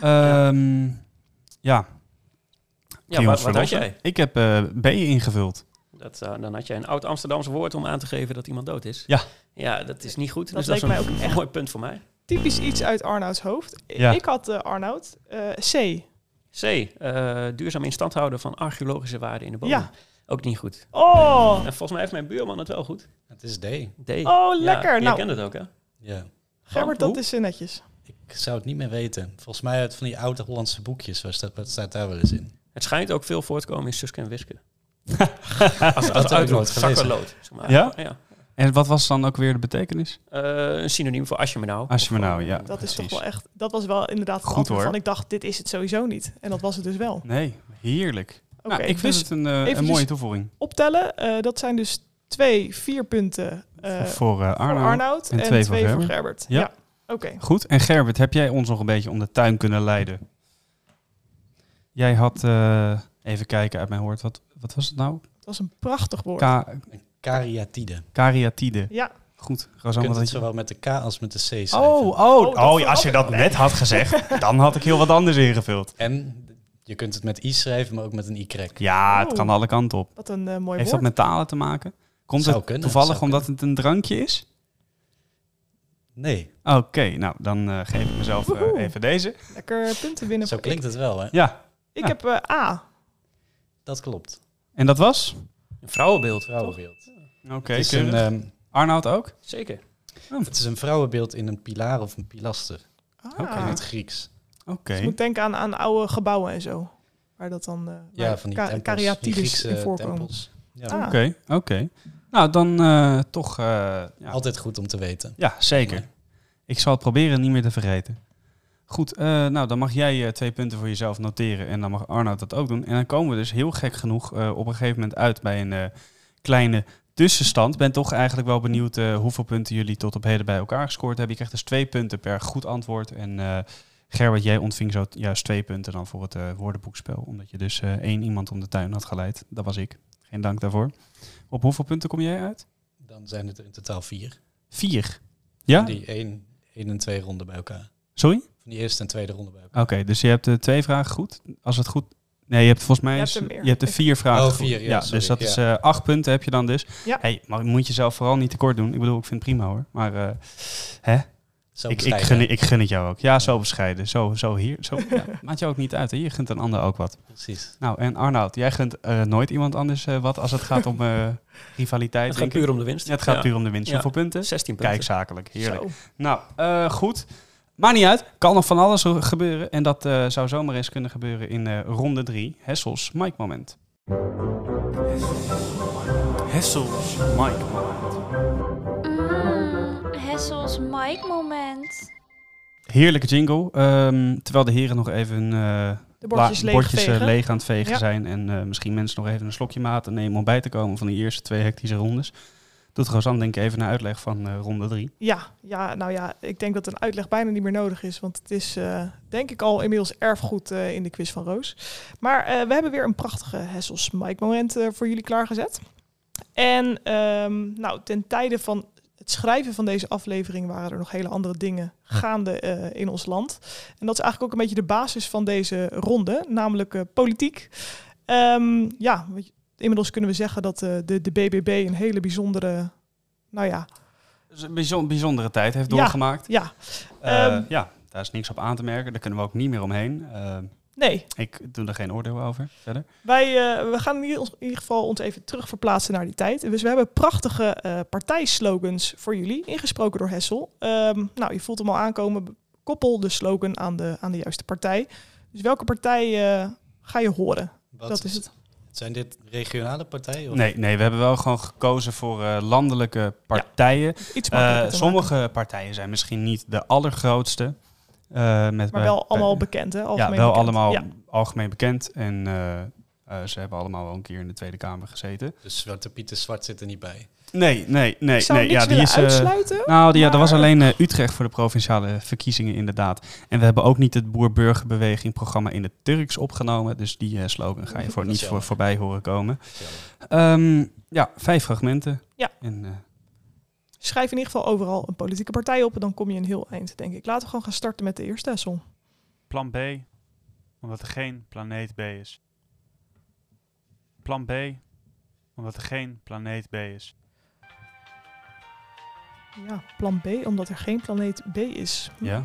Ehm, ja,
Ja,
die
wat,
ons
wat had
verlossen.
jij?
Ik heb eh, B ingevuld.
Dat, eh, dan had jij een oud Amsterdamse woord om aan te geven dat iemand dood is.
Ja.
Ja, dat is niet goed.
Dat
dus dat is
leek
een
mij ook echt-
mooi punt voor mij.
Typisch iets uit Arnouds hoofd. I-
Ja.
Ik had eh, Arnoud eh, C.
C. eh, duurzaam in stand houden van archeologische waarden in de bodem.
Ja.
Ook niet goed.
Oh,
En volgens mij heeft mijn buurman het wel goed.
Het is D.
D. Ja,
oh lekker.
jij
nou,
kent het ook, hè?
Ja.
Gerbert,
Hoe?
dat is eh, netjes.
Ik zou het niet meer weten. Volgens mij uit van die oude Hollandse boekjes. Waar staat, wat staat daar wel eens in?
Het schijnt ook veel voor te komen in Suske en [LAUGHS] Wiske.
Als,
Dat is uitlood, zakkerlood. Zeg maar.
Ja?
ja.
En wat was dan ook weer de betekenis?
Eh, een synoniem voor als je me nou.
Als je me nou, ja.
Oh, Dat is toch
precies.
wel echt. Dat was wel inderdaad het
Goed,
antwoord
hoor.
van ik dacht, dit is het sowieso niet. En dat was het dus wel.
Nee, heerlijk.
Oké,
nou, ik vind
dus
het een, eh, een
eventjes-
mooie toevoeging
optellen. eh, dat zijn dus twee, vier punten eh, voor
voor eh Arno.
Arnoud, en, twee, voor Gerbert.
Ja.
Ja. Oké.
Goed, en Gerbert, heb jij ons nog een beetje om de tuin kunnen leiden? Jij had, eh, even kijken uit mijn hoort, wat, wat was het nou?
Het was een prachtig woord.
Ka
Kariatide.
kariatide.
ja.
Goed,
Je
Rosanne,
kunt
wat
het
had je?
zowel met de K als met de C schrijven.
Oh, oh,
dat
oh, ja,
verandert
als je dat
wel.
net had gezegd, dan had ik heel wat anders ingevuld.
En je kunt het met I schrijven, maar ook met een Y.
Ja, het
Oh.
kan alle kanten op.
Wat een eh, mooi
Heeft dat
woord.
met talen te maken? Komt
Zou
het
kunnen,
toevallig
zou
omdat het een drankje is?
Nee,
Oké, nou dan eh, geef ik mezelf eh,
Woehoe.
even deze.
Lekker punten winnen.
zo
voor-
klinkt het wel, hè?
Ja,
Ik
Ja.
heb eh, A.
Dat klopt.
en dat was?
Een vrouwenbeeld.
Vrouwenbeeld.
Oké,
het, is een,
keurig.
ehm,
Arnoud ook?
Zeker.
het is een vrouwenbeeld in een pilaar of een pilaster.
Ah.
Oké.
In
Ah.
het Grieks.
Oké.
Dus je moet denken aan, aan oude gebouwen en zo. Waar dat dan eh
Ja,
waar
van die
ka-
tempels. die
kariatides
Griekse
in voorkomen.
tempels. Ja.
Ah.
Oké, oké. Nou, dan eh, toch... eh,
Ah.
ja.
Altijd goed om te weten.
ja, zeker. Ik zal het proberen niet meer te vergeten. Goed, eh, nou dan mag jij eh, twee punten voor jezelf noteren en dan mag Arnoud dat ook doen. En dan komen we dus heel gek genoeg eh, op een gegeven moment uit bij een eh, kleine tussenstand. Ben toch eigenlijk wel benieuwd eh, hoeveel punten jullie tot op heden bij elkaar gescoord hebben. Je krijgt dus twee punten per goed antwoord. En eh Gerbert, jij ontving zo juist twee punten dan voor het eh, woordenboekspel. Omdat je dus eh, één iemand om de tuin had geleid. Dat was ik. Geen dank daarvoor. Op hoeveel punten kom jij uit?
Dan zijn het er in totaal vier.
Vier. Ja?
Die één, één en twee ronden bij elkaar.
Sorry? Oh,
Van die eerste en tweede ronde bij elkaar.
eh, Oké, dus je hebt de twee vragen goed. Als het goed Nee, je hebt volgens mij
Je hebt
s-
er meer.
je hebt er
Ik-
vier vragen.
Oh,
goed.
vier, ja,
dus
sorry,
dat
ja.
is eh, acht punten heb je dan dus.
Ja.
Hey, maar je moet jezelf vooral niet tekort doen. Ik bedoel, ik vind het prima hoor. Maar eh,
Zo
ik, ik,
bescheiden.
gun, ik gun het jou ook. Ja, zo bescheiden. Zo, zo hier. Zo, ja, [LAUGHS] maakt jou ook niet uit. Hè? Je gunt een ander ook wat.
Precies.
Nou, en Arnoud, jij gunt eh, nooit iemand anders eh, wat als het gaat om
[LAUGHS]
eh, rivaliteit.
Het gaat
denk ik.
puur om de winst.
Ja, het gaat
Ja.
puur om de winst.
Ja.
Hoeveel punten?
16 punten.
Kijk, zakelijk. Heerlijk.
Zo.
Nou, eh, goed. Maakt niet uit. Kan nog van alles ge- gebeuren. En dat eh, zou zomaar eens kunnen gebeuren in eh, ronde 3. Hessels Mike Moment. Hessels Mike Moment.
Mm, Hessels Mike moment.
Heerlijke jingle. ehm, terwijl de heren nog even eh
De bordjes
la-
leeg
bordjes, eh,
vegen.
leeg aan het vegen
Ja.
zijn. En eh, misschien mensen nog even een slokje maten nemen om bij te komen van die eerste twee hectische rondes. Doet Rosanne denk ik even een uitleg van eh, ronde 3.
Ja, ja, nou ja, ik denk dat een uitleg bijna niet meer nodig is. Want het is, eh, denk ik, al inmiddels erfgoed eh, in de quiz van Roos. Maar eh, we hebben weer een prachtige Hessels Mike moment eh, voor jullie klaargezet. En ehm, nou, ten tijde van het schrijven van deze aflevering waren er nog hele andere dingen gaande eh, in ons land. En dat is eigenlijk ook een beetje de basis van deze ronde, namelijk eh, politiek. Ehm, ja, want inmiddels kunnen we zeggen dat eh, de, de BBB een hele bijzondere, nou ja,
Dus een bijzon- bijzondere tijd heeft
Ja.
doorgemaakt.
ja,
Eh,
Ehm.
ja, daar is niks op aan te merken. Daar kunnen we ook niet meer omheen. Eh,
nee.
ik doe er geen oordeel over verder.
Wij eh, we gaan in ieder, in ieder geval ons even terug verplaatsen naar die tijd. Dus we hebben prachtige eh, partijslogans voor jullie, ingesproken door Hessel. Ehm, nou, je voelt hem al aankomen. Koppel de slogan aan de, aan de juiste partij. Dus welke partij eh, ga je horen?
Wat
Dat is het.
Zijn dit regionale partijen? of-
Nee, nee, we hebben wel gewoon gekozen voor eh, landelijke partijen.
Iets
Eh,
makkelijker te maken,
sommige partijen zijn misschien niet de allergrootste. eh, met
maar wel
bij-
allemaal bekend, hè? Algemeen
Ja, wel
bekend.
allemaal
Ja,
algemeen bekend. En eh, eh, ze hebben allemaal wel een keer in de Tweede Kamer gezeten.
Dus Zwarte Piet de Zwart zit er niet bij.
Nee, nee, nee.
ik zou
nee,
niks
ja, die
willen
is, eh,
uitsluiten.
Nou, die, ja, dat was
maar-
alleen eh, Utrecht voor de provinciale verkiezingen inderdaad. En we hebben ook niet het boer-burgerbeweging programma in het Turks opgenomen. Dus die eh, slogan ga je voor,
Dat is
niet voor,
jammer.
voorbij horen komen.
Ja.
Ehm, ja, vijf fragmenten.
Ja.
En, eh,
Schrijf in ieder geval overal een politieke partij op en dan kom je een heel eind, denk ik. Laten we gewoon gaan starten met de eerste, Hessel.
Plan B, omdat er geen planeet B is. Plan B, omdat er geen planeet B is.
Ja, plan B, omdat er geen planeet B is. Hm.
Ja.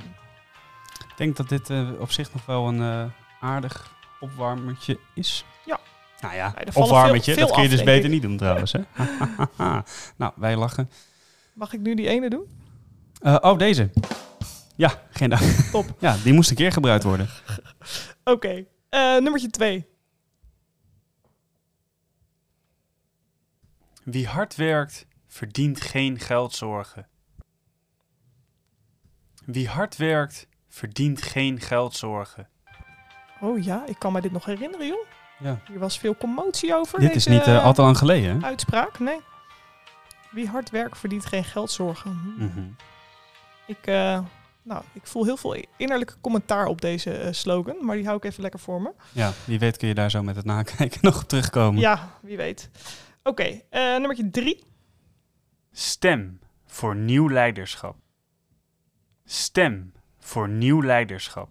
ik denk dat dit eh, op zich nog wel een eh, aardig opwarmertje is.
Ja.
Nou ja,
Nee, er vallen
opwarmertje,
veel- veel
dat kun je
af,
dus
denk
beter
ik.
niet doen trouwens. Hè? [LAUGHS] nou, wij lachen.
Mag ik nu die ene doen?
Eh, oh, deze. Ja, geen
[LAUGHS]
dank.
Top.
Ja, die moest een keer gebruikt worden.
Oké, eh, nummertje twee.
Wie hard werkt, verdient geen geldzorgen. Wie hard werkt, verdient geen geldzorgen.
Oh ja, ik kan me dit nog herinneren, joh.
Ja.
Hier was veel commotie over.
Dit is
deze
niet eh, al te lang geleden, hè?
Uitspraak, nee. Wie hard werkt verdient geen geldzorgen. Hm.
Mhm.
Ik, eh, nou, ik voel heel veel innerlijke commentaar op deze eh, slogan, maar die hou ik even lekker voor me.
Ja, wie weet kun je daar zo met het nakijken [LAUGHS] nog op terugkomen.
Ja, wie weet. Oké, eh, nummertje drie.
Stem voor nieuw leiderschap. Stem voor nieuw leiderschap.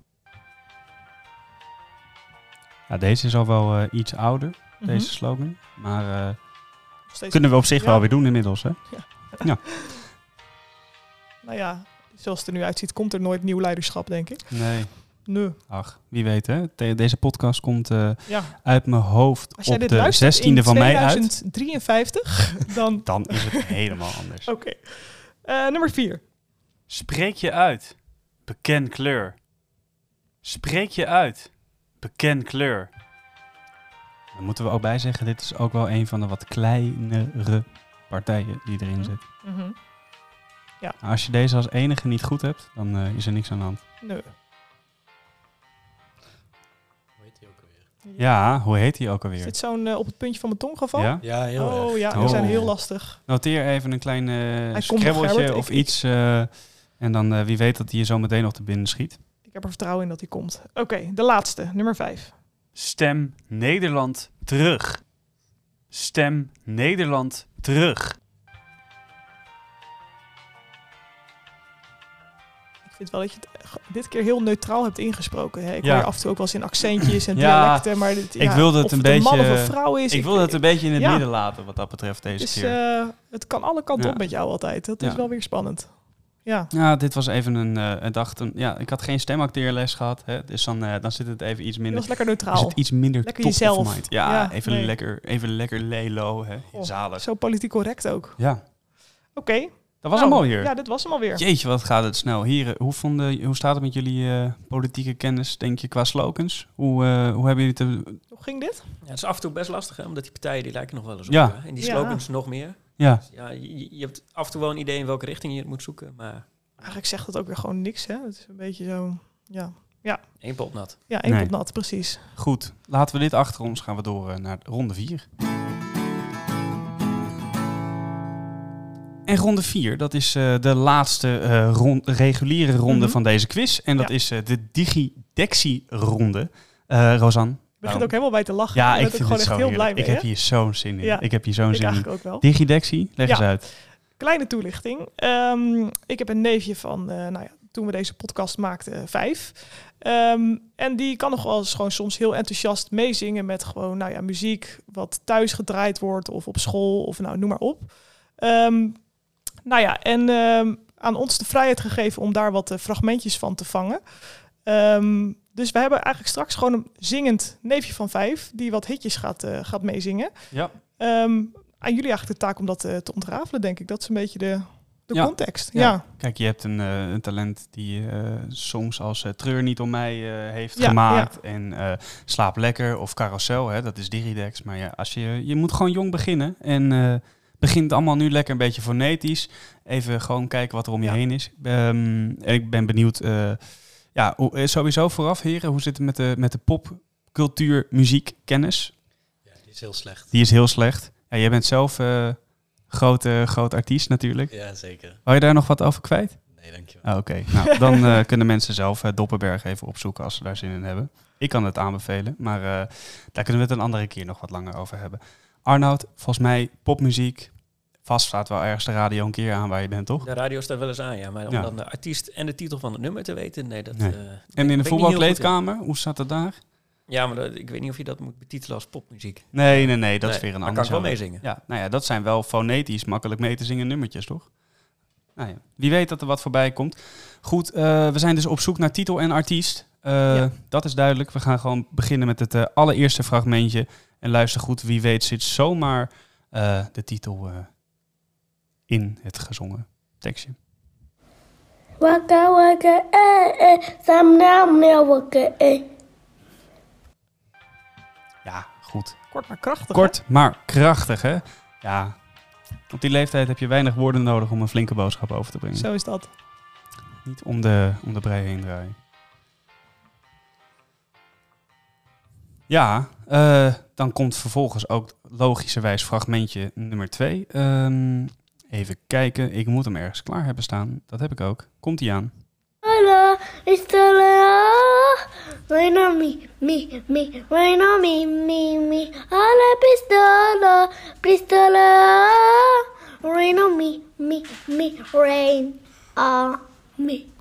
Ja, deze is al wel eh, iets ouder,
Mhm.
deze slogan. Maar eh,
Nog steeds-
kunnen we op zich
Ja.
wel weer doen inmiddels, hè?
Nou ja, zoals het er nu uitziet, komt er nooit nieuw leiderschap, denk ik.
Nee.
Nee.
Ach, wie weet, hè? Te- deze podcast komt eh,
Ja.
uit mijn hoofd
Als jij
op
dit
de
luistert
16e
in
van mei uit.
2053, [LAUGHS] dan...
Dan is het [LAUGHS] helemaal anders.
Oké. Eh, nummer vier.
Spreek je uit. Beken kleur. Spreek je uit. Beken kleur.
Daar moeten we ook bij zeggen, dit is ook wel een van de wat kleinere partijen die
Hm.
erin zit.
Mhm.
Maar als je deze als enige niet goed hebt, dan eh, is er niks aan de hand.
Nee.
Hoe heet die ook alweer?
Ja, hoe heet die
Is
ook alweer?
dit zo'n eh, op het puntje van mijn tong geval?
Ja?
Ja, heel erg.
Oh ja, die
Oh.
zijn heel lastig.
Noteer even een klein eh
komt
scrabbeltje
gerberd,
of
ik-
iets. eh, en dan eh, wie weet dat hij je zo meteen nog te binnen schiet.
Ik heb er vertrouwen in dat die komt. Oké, de laatste, nummer vijf.
Stem Nederland terug. Stem Nederland terug.
Ik vind wel dat je het eh, ge- dit keer heel neutraal hebt ingesproken. Hè? Ik
Ja.
hoor je af en toe ook wel eens in accentjes en
Ja,
dialecten. Maar dit, ja,
ik wilde het
of
een
man of
beetje-
een vrouw is.
Ik wilde het een beetje in het
ja.
midden laten wat dat betreft deze
Dus
keer.
eh, het kan alle kanten
Ja.
op met jou altijd. Dat is
Ja.
wel weer spannend. Ja,
Ja, dit was even een, eh, een dag toen... Ja, ik had geen stemacteerles gehad. Hè, dus dan, eh, dan zit het even iets
dat
minder...
was lekker
Is
neutraal.
het iets minder
Lekker
top
jezelf.
of mind. Ja,
Ja,
even,
nee. Oh.
lekker, even lekker lelo hè, in
Goh.
zalen.
Zo politiek correct ook. Oké.
Ja, dat was
nou,
hem alweer.
Ja, dit was hem alweer.
Jeetje, wat gaat het snel. Heren, hoe, vonden, hoe staat het met jullie eh, politieke kennis, denk je, qua slogans? Hoe, eh, hoe hebben jullie het...
Hoe ging dit?
Ja, het is af en toe best lastig, hè, omdat die partijen die lijken nog wel eens op
Ja.
elkaar. En die
Ja.
slogans nog meer.
Ja,
Ja, je, je hebt af en toe wel een idee in welke richting je het moet zoeken, maar
Eigenlijk zegt het ook weer gewoon niks. Hè? Het is een beetje zo... Ja,
één pot nat.
ja één
Nee.
pot nat, precies.
goed. Laten we dit achter ons. Gaan we door eh, naar ronde 4. En ronde 4, dat is eh, de laatste eh, ron- reguliere ronde
Mhm.
van deze quiz. En dat
Ja.
is eh, de Digidexie-ronde. Eh Rosan.
Je begint
Nou,
ook helemaal bij te lachen.
Ja,
Daar
ik
ben
vind
gewoon
het
echt
zo
heel blij
heerlijk.
mee.
Ik heb
hè?
hier zo'n zin in.
Ja.
Ik heb hier zo'n
ik
zin in.
eigenlijk ook wel.
Digidexie, leg
Ja.
eens uit.
Kleine toelichting. Ehm, ik heb een neefje van, eh, nou ja, toen we deze podcast maakten, eh, vijf. Ehm, en die kan nog wel eens gewoon soms heel enthousiast meezingen met gewoon, nou ja, muziek wat thuis gedraaid wordt of op school of nou, noem maar op. Ehm, nou ja, en ehm, aan ons de vrijheid gegeven om daar wat eh, fragmentjes van te vangen. Ehm, dus we hebben eigenlijk straks gewoon een zingend neefje van vijf die wat hitjes gaat, eh, gaat meezingen.
Ja.
Ehm, aan jullie eigenlijk de taak om dat eh, te ontrafelen, denk ik. Dat is een beetje de, de
Ja.
context.
Ja.
Ja.
Kijk, je hebt een, eh, een talent die eh, songs als eh, Treur niet om mij eh, heeft
Ja,
gemaakt. En eh, Slaap lekker of Carousel, hè, dat is Diridex. Maar ja, als je, je moet gewoon jong beginnen. En eh begint allemaal nu lekker een beetje fonetisch. Even gewoon kijken wat er om je
Ja.
heen is. Ehm, en ik ben benieuwd. eh, ja, hoe- eh, sowieso vooraf, heren, hoe zit het met de, met de popcultuur, muziek, kennis?
Ja, die is heel slecht.
Die is heel slecht. Ja, jij bent zelf eh groot, eh, groot artiest natuurlijk.
Ja, zeker.
Wou je daar nog wat over kwijt?
Nee, dankjewel.
Ah, Oké, nou,
[LAUGHS]
dan eh, kunnen mensen zelf eh, Doppenberg even opzoeken als ze daar zin in hebben. Ik kan het aanbevelen, maar eh, daar kunnen we het een andere keer nog wat langer over hebben. Arnoud, volgens mij popmuziek. Vast staat wel ergens de radio een keer aan waar je bent, toch?
De radio staat wel eens aan, ja. Maar om
Ja.
dan de artiest en de titel van het nummer te weten, nee, dat...
Nee.
eh, ben-
En
ben ik
in de
niet heel
voetbalkleedkamer, hoe staat dat daar?
goed in. Ja, maar dat- ik weet niet of je dat moet betitelen als popmuziek.
Nee, nee, nee, dat is
Nee,
weer een
maar
ander.
kan ik wel
genre.
meezingen.
Ja, nou ja, dat zijn wel fonetisch makkelijk mee te zingen nummertjes, toch? Nou ja, wie weet dat er wat voorbij komt. Goed, eh, we zijn dus op zoek naar titel en artiest. Eh,
Ja.
Dat is duidelijk. We gaan gewoon beginnen met het eh, allereerste fragmentje. En luister goed, wie weet zit zomaar eh, de titel eh, in het gezongen tekstje.
Waka waka eh eh, sam nam ne waka eh.
Ja, goed.
Kort maar krachtig.
Kort, maar krachtig, hè? Ja. Op die leeftijd heb je weinig woorden nodig om een flinke boodschap over
hè?
te brengen.
Zo is dat.
Niet om de, om de brei heen draaien. Ja, eh, dan komt vervolgens ook logischerwijs fragmentje nummer 2. even kijken, ik moet hem ergens klaar hebben staan. Dat heb ik ook. Komt hij aan?
Hola, está la. Bueno, mi, mi, mi, bueno, mi, mi, mi. Hola, pistola, pistola. Bueno, mi, mi, mi, rain. Ah, mi.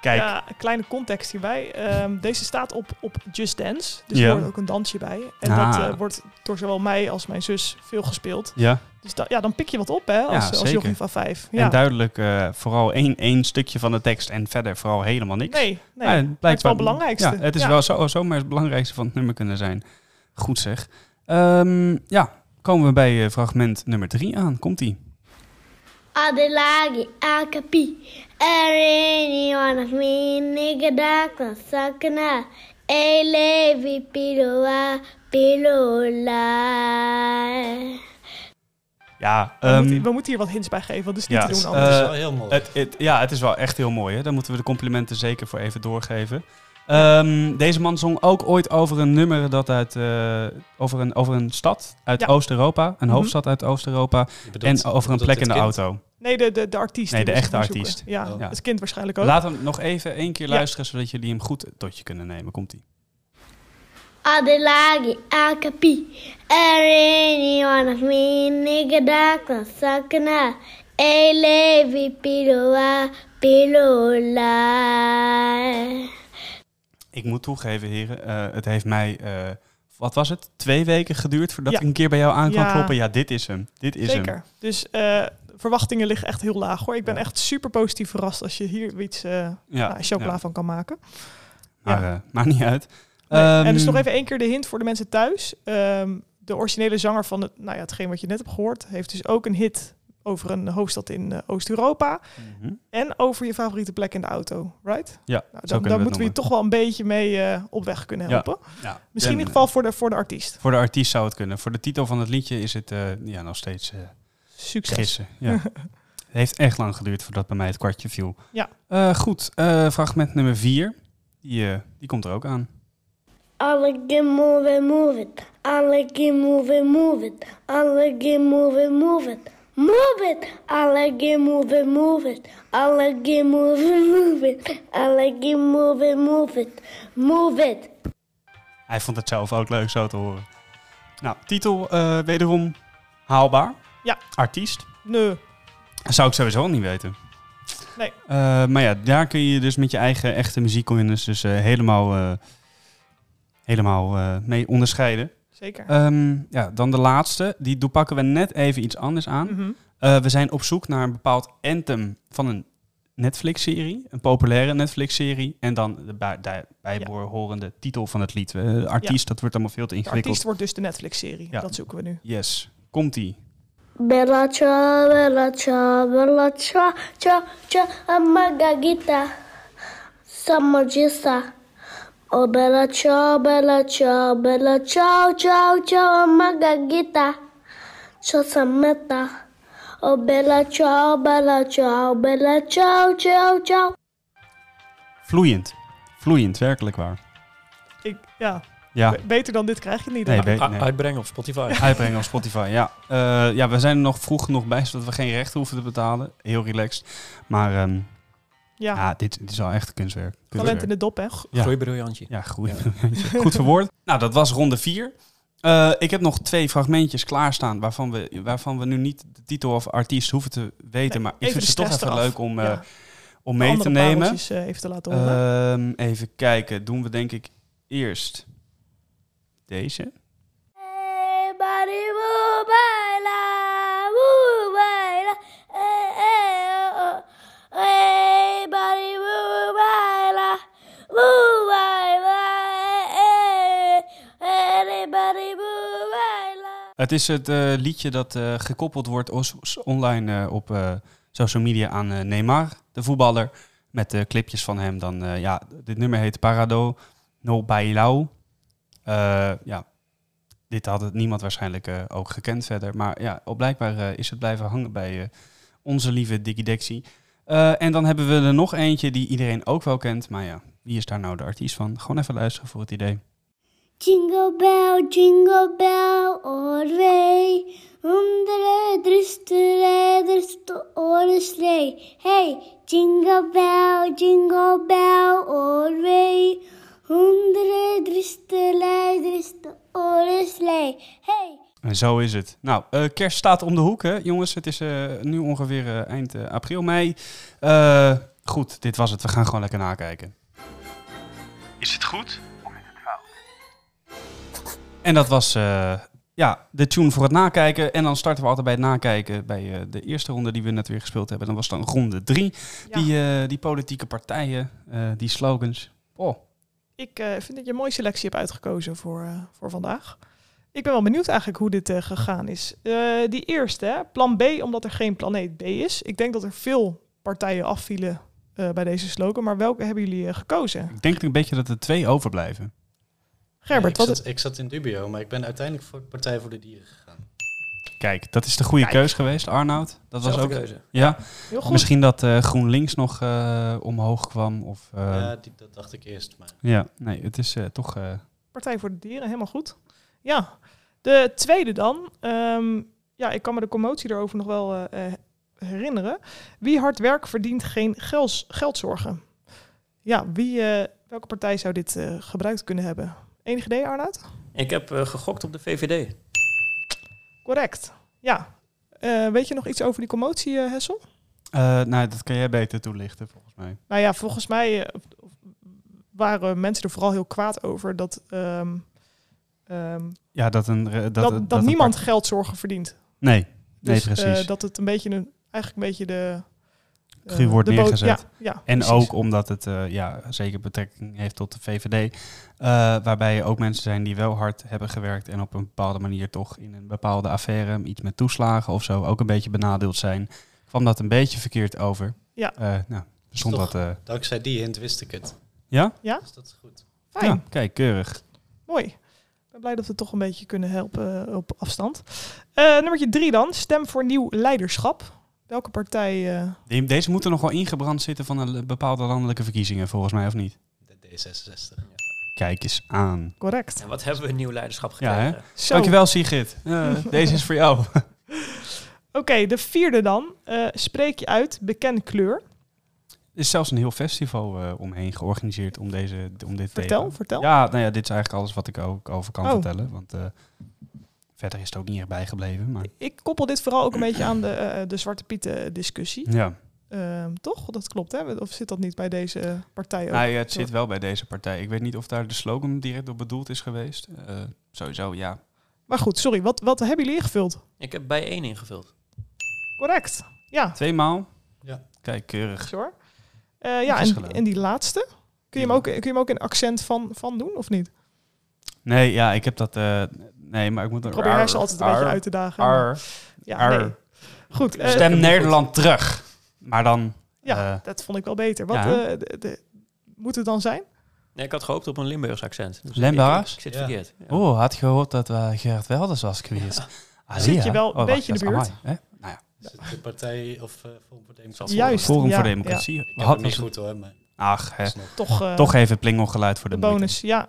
Kijk,
Ja, een kleine context hierbij. Ehm, deze staat op, op Just Dance. Dus
Ja.
er hoort ook een dansje bij. En
Ah.
dat eh, wordt door zowel mij als mijn zus veel gespeeld.
ja.
Dus da- ja, dan pik je wat op, hè, als, als
zeker.
jochie van vijf.
en
Ja.
duidelijk eh, vooral één, één stukje van de tekst en verder vooral helemaal niks. Ah,
nee, nee. maar
Ja,
het is wel
blijkbaar-
het belangrijkste.
Ja, het is
Ja.
wel zo, zomaar het belangrijkste van het nummer kunnen zijn. Goed zeg. Ehm, ja, komen we bij eh, fragment nummer 3 aan. Komt-ie.
Adelagi, akapi. Erini, one of me, nigga, dakna, sakana. A levi, piloa, pilola.
Ja,
We,
ehm,
moeten, we moeten hier wat hints bij geven, want dat is niet
ja,
te doen
eh,
anders.
dat is wel heel mooi.
het, het, ja, het is wel echt heel mooi. Hè? Daar moeten we de complimenten zeker voor even doorgeven. Ehm, deze man zong ook ooit over een nummer dat uit, eh, over, een, over een stad uit
Ja.
Oost-Europa, een
Mhm.
hoofdstad uit Oost-Europa,
Je bedoelt-
en over een
je bedoelt
plek in
het
de
kind?
auto.
nee, de, de, de artiest.
Nee,
die
de
we
echte
gaan zoeken.
artiest.
Ja,
Oh.
Ja.
het kind waarschijnlijk ook.
Laat hem nog even één keer
Ja.
luisteren, zodat jullie hem goed tot je kunnen nemen. Komt-ie.
Adelagi, akapi. Erini, one of me, nigga, dakna, sakana. Elevi piroa pirola.
Ik moet toegeven, heren, eh, het heeft mij, eh, wat was het, twee weken geduurd voordat
Ja.
ik een keer bij jou aan kan
Ja.
kloppen. Ja, dit is hem. Dit is
Zeker.
hem.
Dus eh, verwachtingen liggen echt heel laag hoor. Ik ben
Ja.
echt super positief verrast als je hier iets eh
Ja,
nou, chocola
ja.
van kan maken.
Maar eh, maakt niet uit.
Nee, en
Ehm,
dus nog even één keer de hint voor de mensen thuis. Ehm, de originele zanger van het, nou ja, hetgeen wat je net hebt gehoord, heeft dus ook een hit over een hoofdstad in eh, Oost-Europa.
mhm.
En over je favoriete plek in de auto, right?
Ja,
Nou,
zo
dan
kunnen
dan
we
moeten
het
we je
noemen.
toch wel een beetje mee eh, op weg kunnen
Ja.
helpen.
Ja.
Misschien in ieder
En,
geval voor de, voor de artiest.
eh, Voor de artiest zou het kunnen. Voor de titel van het liedje is het eh, ja, nog steeds eh,
Succes.
gissen.
[LAUGHS]
Ja. het heeft echt lang geduurd voordat bij mij het kwartje viel.
Ja.
Eh, goed, eh, fragment nummer vier. Die, eh, die komt er ook aan.
Alleghe move it, move it. Alleghe move it, move it. Alleghe move it, move it. Move it. Alleghe move it, move it. Alleghe move [LAUGHS] it, move it. Alleghe move it, move it. Move it.
Hij vond het zelf ook leuk zo te horen. Nou, titel eh, wederom haalbaar.
Ja.
Artiest.
Nee.
Dat zou ik sowieso al niet weten.
Nee.
Eh, maar ja, daar kun je dus met je eigen echte muziekkennis dus eh, helemaal, eh, helemaal eh, mee onderscheiden.
Zeker.
Ehm, ja, dan de laatste. Die doen- pakken we net even iets anders aan.
Mhm.
Eh, we zijn op zoek naar een bepaald anthem van een Netflix-serie. Een populaire Netflix-serie. En dan de bij- daar- bijbehorende titel van het lied. Eh, de artiest, dat wordt allemaal veel te
De
ingewikkeld.
artiest wordt dus de Netflix-serie.
Ja.
Dat zoeken we nu.
Yes, komt-ie.
Bella ciao, bella ciao, bella ciao, ciao, ciao, amma gagita, samogista. Oh bella ciao, bella ciao, bella ciao, ciao, ciao, amma gagita, ciao sammetta. Oh bella ciao, bella ciao, bella ciao, ciao, ciao.
Vloeiend. Vloeiend, werkelijk waar.
Ik, ja,
Ja,
be- beter dan dit krijg je niet.
Nee,
hè?
be- Weet-
U-
nee.
Uitbrengen op Spotify.
uitbrengen op Spotify, ja. Eh, ja, we zijn er nog vroeg genoeg bij, zodat we geen rechten hoeven te betalen. Heel relaxed. Maar ehm,
ja,
ja, dit, dit is wel echt kunstwerk.
talent in
kunstwerk.
de dop, hè?
[LAUGHS]
Ja.
Groeibriljantje.
Ja, goed. [LAUGHS] goed verwoord. Nou, dat was ronde vier. Eh, ik heb nog twee fragmentjes klaarstaan waarvan we, waarvan we nu niet de titel of artiest hoeven te weten.
Nee,
maar ik
even
vind
de
het toch
stress
even
eraf.
leuk om, eh,
Ja,
om
de
mee te
andere
nemen.
pareltjes, eh, even te laten horen.
Ehm, even kijken. Doen we denk ik eerst deze.
Eh, bari, woe, baila, woe, baila. Eh, eh, oh, oh. Eh, bari, woe, baila, woe, baila. Eh, eh, eh, bari, woe, baila.
Het is het eh, liedje dat eh, gekoppeld wordt os- os- online eh, op eh, social media aan eh, Neymar, de voetballer. Met eh, clipjes van hem. Dan, eh, ja, dit nummer heet Parado No Bailao. Eh, ja, dit had het niemand waarschijnlijk eh, ook gekend verder. Maar ja, op blijkbaar eh, is het blijven hangen bij eh, onze lieve Diggy Dexy. Eh, en dan hebben we er nog eentje die iedereen ook wel kent. Maar ja, wie is daar nou de artiest van? Gewoon even luisteren voor het idee.
Jingle bell, jingle bell, all the way. Onder de rijders door de slee. Hey, jingle bell, jingle bell, all the way. Onder de rijders door de slee. Hey.
En zo is het. Nou, eh, kerst staat om de hoek, hè, jongens. Het is eh, nu ongeveer eh, eind eh, april, mei. Eh, goed, dit was het. We gaan gewoon lekker nakijken.
Is het goed?
En dat was eh, ja, de tune voor het nakijken. En dan starten we altijd bij het nakijken bij eh, de eerste ronde die we net weer gespeeld hebben. Dan was dan ronde drie.
Ja.
Die, eh, die politieke partijen, eh, die slogans. Oh,
Ik eh, vind dat je een mooie selectie hebt uitgekozen voor, eh, voor vandaag. Ik ben wel benieuwd eigenlijk hoe dit eh, gegaan is. Eh, die eerste, hè, plan B, omdat er geen planeet B is. Ik denk dat er veel partijen afvielen eh, bij deze slogan. Maar welke hebben jullie eh, gekozen?
ik denk een beetje dat er twee overblijven.
Gerbert,
ik,
wat
zat, ik zat in dubio, maar ik ben uiteindelijk voor Partij voor de Dieren gegaan.
Kijk, dat is de goede
Kijk.
keus geweest, Arnoud. Dat was ook.
keuze.
Ja,
heel goed.
misschien dat eh, GroenLinks nog eh, omhoog kwam. Of, eh,
ja, die, dat dacht ik eerst, maar
Ja, nee, het is eh, toch. eh,
Partij voor de Dieren, helemaal goed. Ja, de tweede dan. Ehm, ja, ik kan me de commotie erover nog wel eh, eh, herinneren. Wie hard werk verdient geen gels, geldzorgen. Ja, wie, eh, welke partij zou dit eh, gebruikt kunnen hebben? Enig idee, Arnoud?
Ik heb eh, gegokt op de VVD.
Correct. Ja, Eh, weet je nog iets over die commotie, eh, Hessel?
Eh, nou, dat kan jij beter toelichten volgens mij.
Nou ja, volgens mij eh, waren mensen er vooral heel kwaad over dat, ehm, ehm,
Ja, dat een. re- Dat,
dat,
dat
dat,
een
niemand
part-
geldzorgen verdient.
Nee, nee,
Dus,
precies.
eh, dat het een beetje een, eigenlijk een beetje de... eh,
Cru wordt
de bo-
neergezet.
Ja, ja,
En
precies.
ook omdat het eh, ja, zeker betrekking heeft tot de VVD. eh, waarbij er ook mensen zijn die wel hard hebben gewerkt en op een bepaalde manier toch in een bepaalde affaire, iets met toeslagen of zo, ook een beetje benadeeld zijn. Kwam dat een beetje verkeerd over.
Ja.
Eh, nou, stond
Toch.
dat. eh,
Dankzij die hint wist ik het.
ja?
Dus dat is goed.
Fijn.
Ja, kijk, keurig.
Mooi. Ik ben blij dat we toch een beetje kunnen helpen eh, op afstand. Eh nummertje drie dan. Stem voor nieuw leiderschap. Welke partij? eh,
Die- Deze moeten nog wel ingebrand zitten van de l- bepaalde landelijke verkiezingen, volgens mij, of niet?
De D66.
Kijk eens aan.
correct.
En wat hebben we een nieuw leiderschap
Ja,
gekregen?
Zo.
Dankjewel, Sigrid. Eh, deze is voor jou. [LAUGHS]
Oké, de vierde dan. Eh, spreek je uit, beken kleur.
Er is zelfs een heel festival eh, omheen georganiseerd om, deze, om dit
Vertel,
thema.
vertel.
Ja, nou ja, dit is eigenlijk alles wat ik ook over kan
Oh.
vertellen. Want eh, verder is het ook niet echt bijgebleven. Maar
Ik koppel dit vooral ook een beetje aan de, eh, de Zwarte Pieten discussie.
ja,
Ehm, toch? Dat klopt, hè? Of zit dat niet bij deze eh, partij ook?
Nou, ja, het zit wel bij deze partij. Ik weet niet of daar de slogan direct op bedoeld is geweest. Eh, sowieso, ja.
Maar goed, sorry. Wat, wat hebben jullie ingevuld?
Ik heb bij één ingevuld.
Correct. Ja,
Tweemaal.
Ja.
Kijk, keurig.
zo hoor. Eh, ja,
Het is
en,
gedaan.
en die laatste. Kun je, hem ook, kun je hem ook in accent van, van doen, of niet?
Nee, ja, ik heb dat... eh, nee, maar ik moet...
Ik probeer haar ze altijd een beetje uit te dagen. ja,
ar.
nee. Goed. eh,
Stem Nederland terug. Maar dan...
Ja,
eh,
dat vond ik wel beter. Wat
ja.
eh, de- de- moet het dan zijn?
Nee, ik had gehoopt op een Limburgs accent. Dus
Limburgs?
Ik, ik zit
Ja.
verkeerd. Ja.
Oh, had gehoord dat we Gerard Welders was geweest. Ah,
Zit
zie
je wel een
Oh, wacht,
beetje in de
dat is
buurt?
Amai, hè? Nou ja,
Is Dus het de partij of eh Forum voor Democratie?
Juist.
Forum
ja,
voor Democratie.
Ik
Had
heb het
was
niet goed hoor, maar
Ach, hè.
alsnog.
Toch, eh,
toch even plingelgeluid voor de,
de bonus. Ja,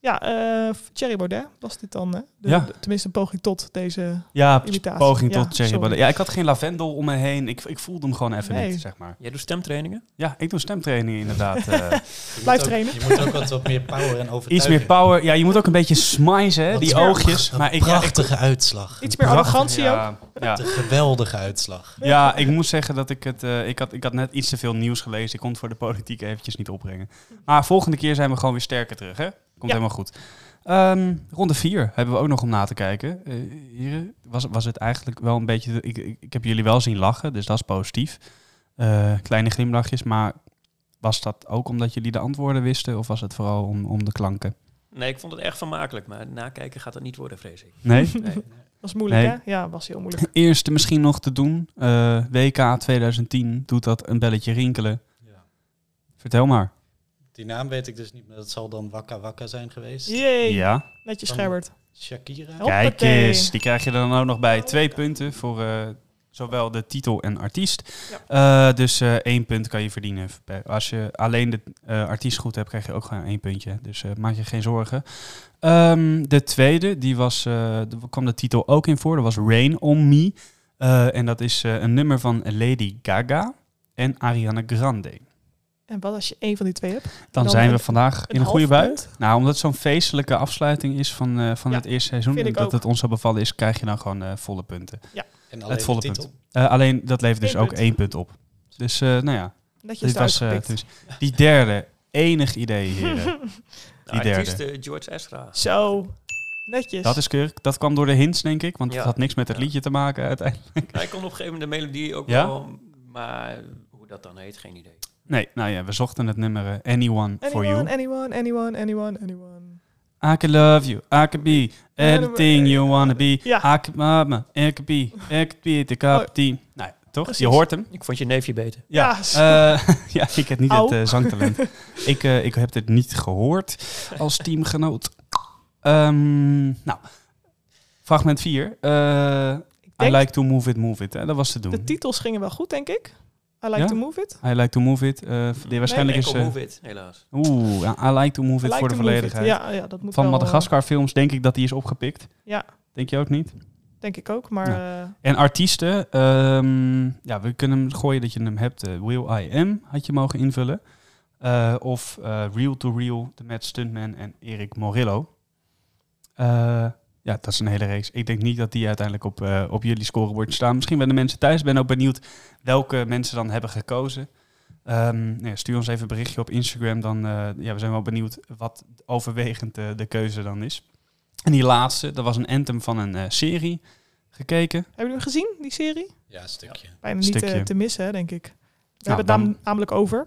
ja eh Thierry Baudet was dit dan. Hè? De-
Ja.
de- tenminste, een poging tot deze.
moeite. Ja,
Imitatie.
poging
Ja,
tot Thierry
sorry.
Baudet. Ja, ik had geen lavendel om me heen. Ik, ik voelde hem gewoon even
Nee.
niet, zeg maar.
Jij doet stemtrainingen?
Ja, ik doe stemtrainingen inderdaad.
[LAUGHS]
eh.
Je
Blijf
moet ook-
trainen.
Je moet ook wat, wat meer power en overtuiging.
iets meer power. Ja, je moet ook een beetje smijzen, hè,
Wat
die
meer-
oogjes.
Wat
Maar ik, ja, ik-
prachtige uitslag.
Iets meer
prachtig,
arrogantie ook.
ja, Ja.
Een geweldige uitslag.
Ja, ik moet zeggen dat ik het. eh, ik, had, ik had net iets te veel nieuws gelezen. Ik kon het voor de politiek eventjes niet opbrengen. Maar volgende keer zijn we gewoon weer sterker terug, hè? Komt
Ja.
helemaal goed. Ehm, ronde 4 hebben we ook nog om na te kijken. Eh, hier was, was het eigenlijk wel een beetje. de- ik, ik, ik heb jullie wel zien lachen, dus dat is positief. Eh, kleine glimlachjes, maar was dat ook omdat jullie de antwoorden wisten? Of was het vooral om, om de klanken?
Nee, ik vond het erg vermakelijk, maar nakijken gaat dat niet worden, vrees
[LAUGHS]
ik.
Nee?
Was moeilijk,
Nee.
hè? Ja, was heel moeilijk.
Eerste misschien nog te doen. eh, WK 2010 doet dat een belletje rinkelen.
Ja.
Vertel maar.
Die naam weet ik dus niet, maar dat zal dan Wakka Wakka zijn geweest.
Jee,
[LAUGHS] Ja.
netjes
Dan-
Gerbert.
Shakira.
Help.
Kijk
Hoppatee.
eens, die krijg je er dan ook nog bij. Twee punten voor eh, zowel de titel en artiest. Eh, dus eh, één punt kan je verdienen. per- Als je alleen de eh, artiest goed hebt, krijg je ook gewoon één puntje. Dus eh, maak je geen zorgen. Ehm, de tweede, die was, eh, daar kwam de titel ook in voor. Dat was Rain on Me. Eh, en dat is eh, een nummer van Lady Gaga en Ariana Grande.
En wat als je één van die twee hebt?
Dan,
Dan
zijn we
een-
vandaag in een goede
half
bui.
punt?
Nou, omdat het zo'n feestelijke afsluiting is van, eh, van
Ja,
het eerste seizoen.
vind
En
ik
dat
ook.
het ons zo bevallen is, krijg je dan gewoon eh, volle punten.
En alleen
het volle
de titel.
Eh, alleen dat levert dus
Eén
ook
punt.
één punt op. Dus eh, nou ja,
Netjes
dit was eh,
uitgepikt.
dus die derde. Enig idee,
[LAUGHS]
heren.
De
Die derde.
artiest eh, George
[LAUGHS]
Ezra.
Zo, netjes.
Dat is keurig. Dat kwam door de hints, denk ik. Want
Ja.
het had niks met het
Ja.
liedje te maken uiteindelijk.
Hij kon op een gegeven moment de melodie ook
Ja?
wel, maar hoe dat dan heet, geen idee.
Nee, nou ja, we zochten het nummer eh, Anyone, For
anyone,
You.
anyone, anyone, anyone, anyone.
I can love you, I can be anything you wanna be.
Ja.
I can mama, I can be, I can be the
Oh.
cup tea. Nou ja, toch?
Precies.
Je hoort hem.
Ik vond je neefje beter.
Ja,
Ja,
eh, [LAUGHS] ja ik heb niet het
Au.
eh,
[LAUGHS]
zangtalent. ik, eh, ik heb dit niet gehoord als teamgenoot. Ehm, nou, fragment 4.
Ik
I
denk
like to move it, move it. Hè, dat was te doen.
de titels gingen wel goed, denk ik. I like
Ja?
to move it.
I like to move it. eh, die waarschijnlijk
Enkel
is... eh,
Move It, helaas.
Oeh, ja, I like to move
I
it
like
voor de
to move it.
volledigheid.
Ja, ja, dat moet
Van
wel, eh,
Madagaskar films denk ik dat die is opgepikt.
Ja.
Denk je ook niet?
denk ik ook, maar... eh,
En artiesten, ehm, ja, we kunnen hem gooien dat je hem hebt. eh, Will I Am had je mogen invullen. Eh, of eh, Real to Real, de Matt Stuntman en Erik Morillo. Eh, Ja, dat is een hele race. Ik denk niet dat die uiteindelijk op, eh, op jullie scorebord staan. Misschien bij de mensen thuis. Ik ben ook benieuwd welke mensen dan hebben gekozen. Ehm, nou ja, stuur ons even een berichtje op Instagram. Dan, eh, ja, we zijn wel benieuwd wat overwegend eh, de keuze dan is. En die laatste, dat was een anthem van een eh, serie gekeken.
Hebben jullie hem gezien, die serie?
Ja, een stukje.
Bijna niet eh,
Stukje.
te missen, hè, denk ik. We hebben
Nou,
het
dan-
nam- namelijk over.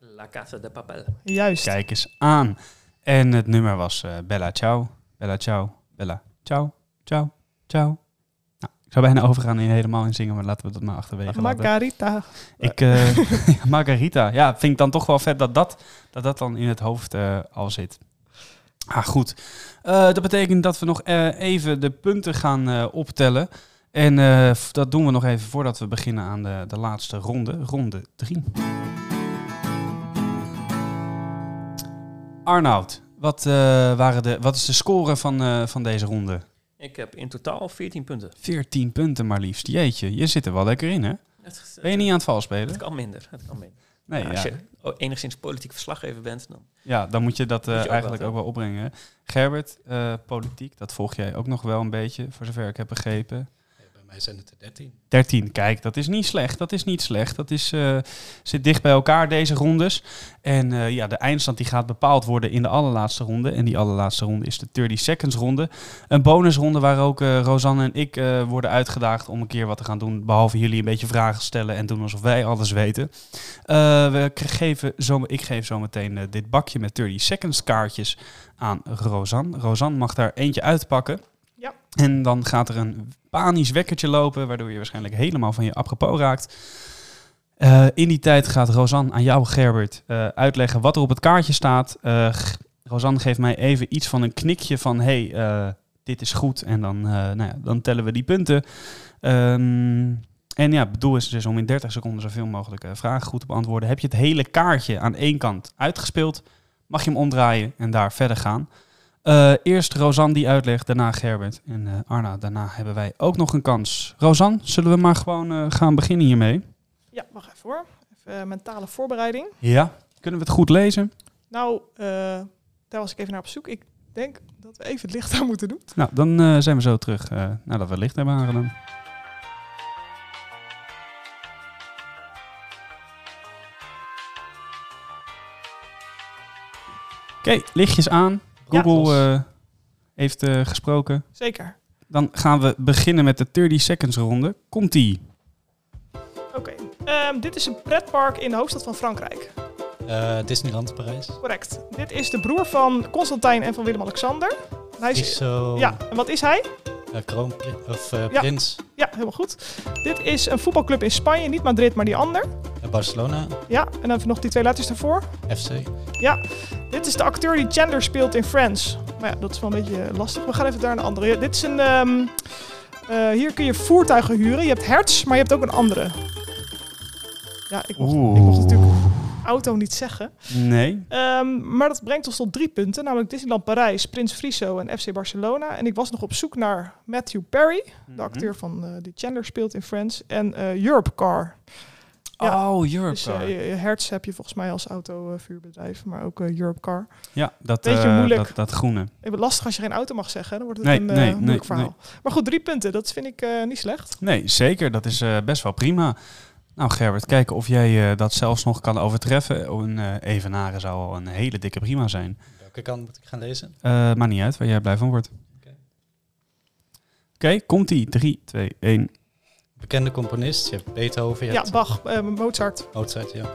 La Casa de Papel.
Juist.
Kijk eens aan. En het nummer was eh, Bella Ciao. Bella Ciao. Bella Ciao. Ciao. Ciao. Nou, ik zou bijna overgaan in helemaal in zingen, maar laten we dat maar achterwege laten.
Margarita.
Ik, eh, ja, Margarita. Ja, vind ik dan toch wel vet dat dat, dat, dat dan in het hoofd eh, al zit. Ah, goed. Eh, dat betekent dat we nog eh, even de punten gaan eh, optellen. En eh, f- dat doen we nog even voordat we beginnen aan de, de laatste ronde. Ronde 3. Arnoud, wat, eh, waren de, wat is de score van, eh, van deze ronde?
Ik heb in totaal 14 punten.
14 punten maar liefst. Jeetje, je zit er wel lekker in, hè?
Het,
Ben je niet aan het vals spelen?
het kan minder. Het kan minder.
Nee,
Maar als je o- enigszins politiek verslaggever bent, dan
Ja, dan moet je dat eh,
Moet je ook
eigenlijk
wat,
ook
hè?
wel opbrengen. Gerbert, eh, politiek, dat volg jij ook nog wel een beetje, voor zover ik heb begrepen.
Ja, bij mij zijn het er 13.
13, kijk, dat is niet slecht. Dat is niet slecht. Dat is, eh, zit dicht bij elkaar, deze rondes. En eh, ja, de eindstand die gaat bepaald worden in de allerlaatste ronde. En die allerlaatste ronde is de 30 seconds ronde. Een bonusronde waar ook eh Rosanne en ik eh, worden uitgedaagd om een keer wat te gaan doen. Behalve jullie een beetje vragen stellen en doen alsof wij alles weten. Eh, we k- geven zo, ik geef zometeen eh, dit bakje met 30 seconds kaartjes aan Rosanne. Rosanne mag daar eentje uitpakken.
Ja.
En dan gaat er een panisch wekkertje lopen, waardoor je waarschijnlijk helemaal van je apropos raakt. Eh, in die tijd gaat Rosanne aan jou, Gerbert, eh, uitleggen wat er op het kaartje staat. Eh, g- Rosanne geeft mij even iets van een knikje van, hey, eh, dit is goed. En dan, eh, nou ja, dan tellen we die punten. Ehm, en ja, het doel is dus om in 30 seconden zoveel mogelijk eh, vragen goed te beantwoorden. Heb je het hele kaartje aan één kant uitgespeeld, mag je hem omdraaien en daar verder gaan. Eh, eerst Rosanne die uitlegt, daarna Gerbert en eh, Arna. Daarna hebben wij ook nog een kans. Rosanne, zullen we maar gewoon eh, gaan beginnen hiermee?
Ja, wacht even hoor. Even eh, mentale voorbereiding.
Ja. Kunnen we het goed lezen?
Nou, eh, daar was ik even naar op zoek. Ik denk dat we even het licht aan moeten doen.
Nou, dan eh, zijn we zo terug eh, nadat we het licht hebben aangedaan. Oké, lichtjes aan. Roebel
Ja.
eh, heeft eh, gesproken.
Zeker.
Dan gaan we beginnen met de 30 seconds ronde. Komt-ie.
Oké. Ehm, dit is een pretpark in de hoofdstad van Frankrijk.
Eh, Disneyland Parijs.
Correct. Dit is de broer van Constantijn en van Willem-Alexander. En Hij is...
Friso.
Ja, en wat is hij?
eh, kroonprins. Of eh,
Ja.
prins.
Ja, helemaal goed. Dit is een voetbalclub in Spanje. Niet Madrid, maar die ander.
Eh, Barcelona.
Ja, en dan nog die twee letters daarvoor.
FC.
Ja, dit is de acteur die Chandler speelt in Friends. Maar ja, dat is wel een beetje eh, lastig. We gaan even daar een andere. Ja, dit is een... ehm, eh, hier kun je voertuigen huren. Je hebt hertz, maar je hebt ook een andere. Ja, ik mocht, ik mocht natuurlijk auto niet zeggen.
Nee.
Ehm, maar dat brengt ons tot drie punten. Namelijk Disneyland Parijs, Prins Friso en FC Barcelona. En ik was nog op zoek naar Matthew Perry.
Mhm.
De acteur van, eh, die Chandler speelt in Friends. En eh Europe Car. Ja.
Oh, Europe
Dus eh, je- je Hertz heb je volgens mij als autovuurbedrijf. Maar ook eh, Europe Car.
Ja, dat,
beetje
eh,
moeilijk.
dat, dat groene.
Ik ben lastig als je geen auto mag zeggen. Dan wordt het
Nee,
een eh,
nee,
moeilijk
nee,
verhaal. Maar goed, drie punten. Dat vind ik eh, niet slecht.
Nee, zeker. Dat is eh, best wel prima. Nou, Gerbert, kijken of jij eh, dat zelfs nog kan overtreffen. Een eh, evenaren zou al een hele dikke prima zijn.
Welke kant moet ik gaan lezen?
Eh maar niet uit, waar jij blij van wordt. Oké,
Oké.
komt-ie. 3, 2, 1.
Bekende componist. Je hebt Beethoven. Je
Ja,
hebt
Bach, eh, Mozart,
Mozart. Ja.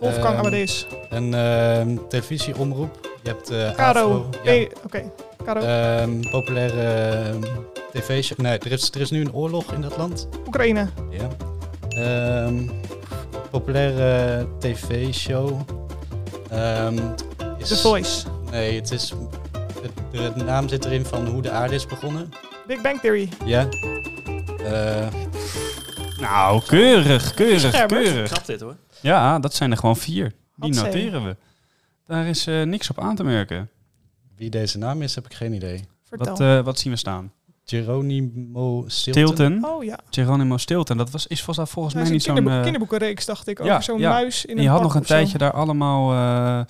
Wolfgang
Ehm,
Amadeus,
Een ehm, televisieomroep. Je hebt eh
Caro.
Avro, ja.
Nee, Oké, Caro.
Ehm, populaire ehm, tv-show. Nee, er is, er is nu een oorlog in dat land.
Oekraïne.
Ja. Ehm, populaire tv-show. Ehm, is-
The Voice.
Nee, het is... het- De, naam zit erin van hoe de aarde is begonnen.
Big Bang Theory.
Ja. Eh,
Nou, keurig, keurig,
Gerbert.
keurig.
grapt dit hoor.
Ja, dat zijn er gewoon vier. Die
Hatzee.
noteren we. Daar is eh, niks op aan te merken.
wie deze naam is, heb ik geen idee.
Vertel.
Wat, eh, wat zien we staan?
Geronimo Stilton.
Stilton.
oh ja,
Geronimo Stilton. Dat was, is, was daar volgens
hij
mij
is een
niet zo'n...
kinderboek-
eh,
kinderboekenreeks, dacht ik.
ja,
Over zo'n
ja.
muis in
En
een
je had
pak
nog een
of zo.
tijdje daar allemaal, eh,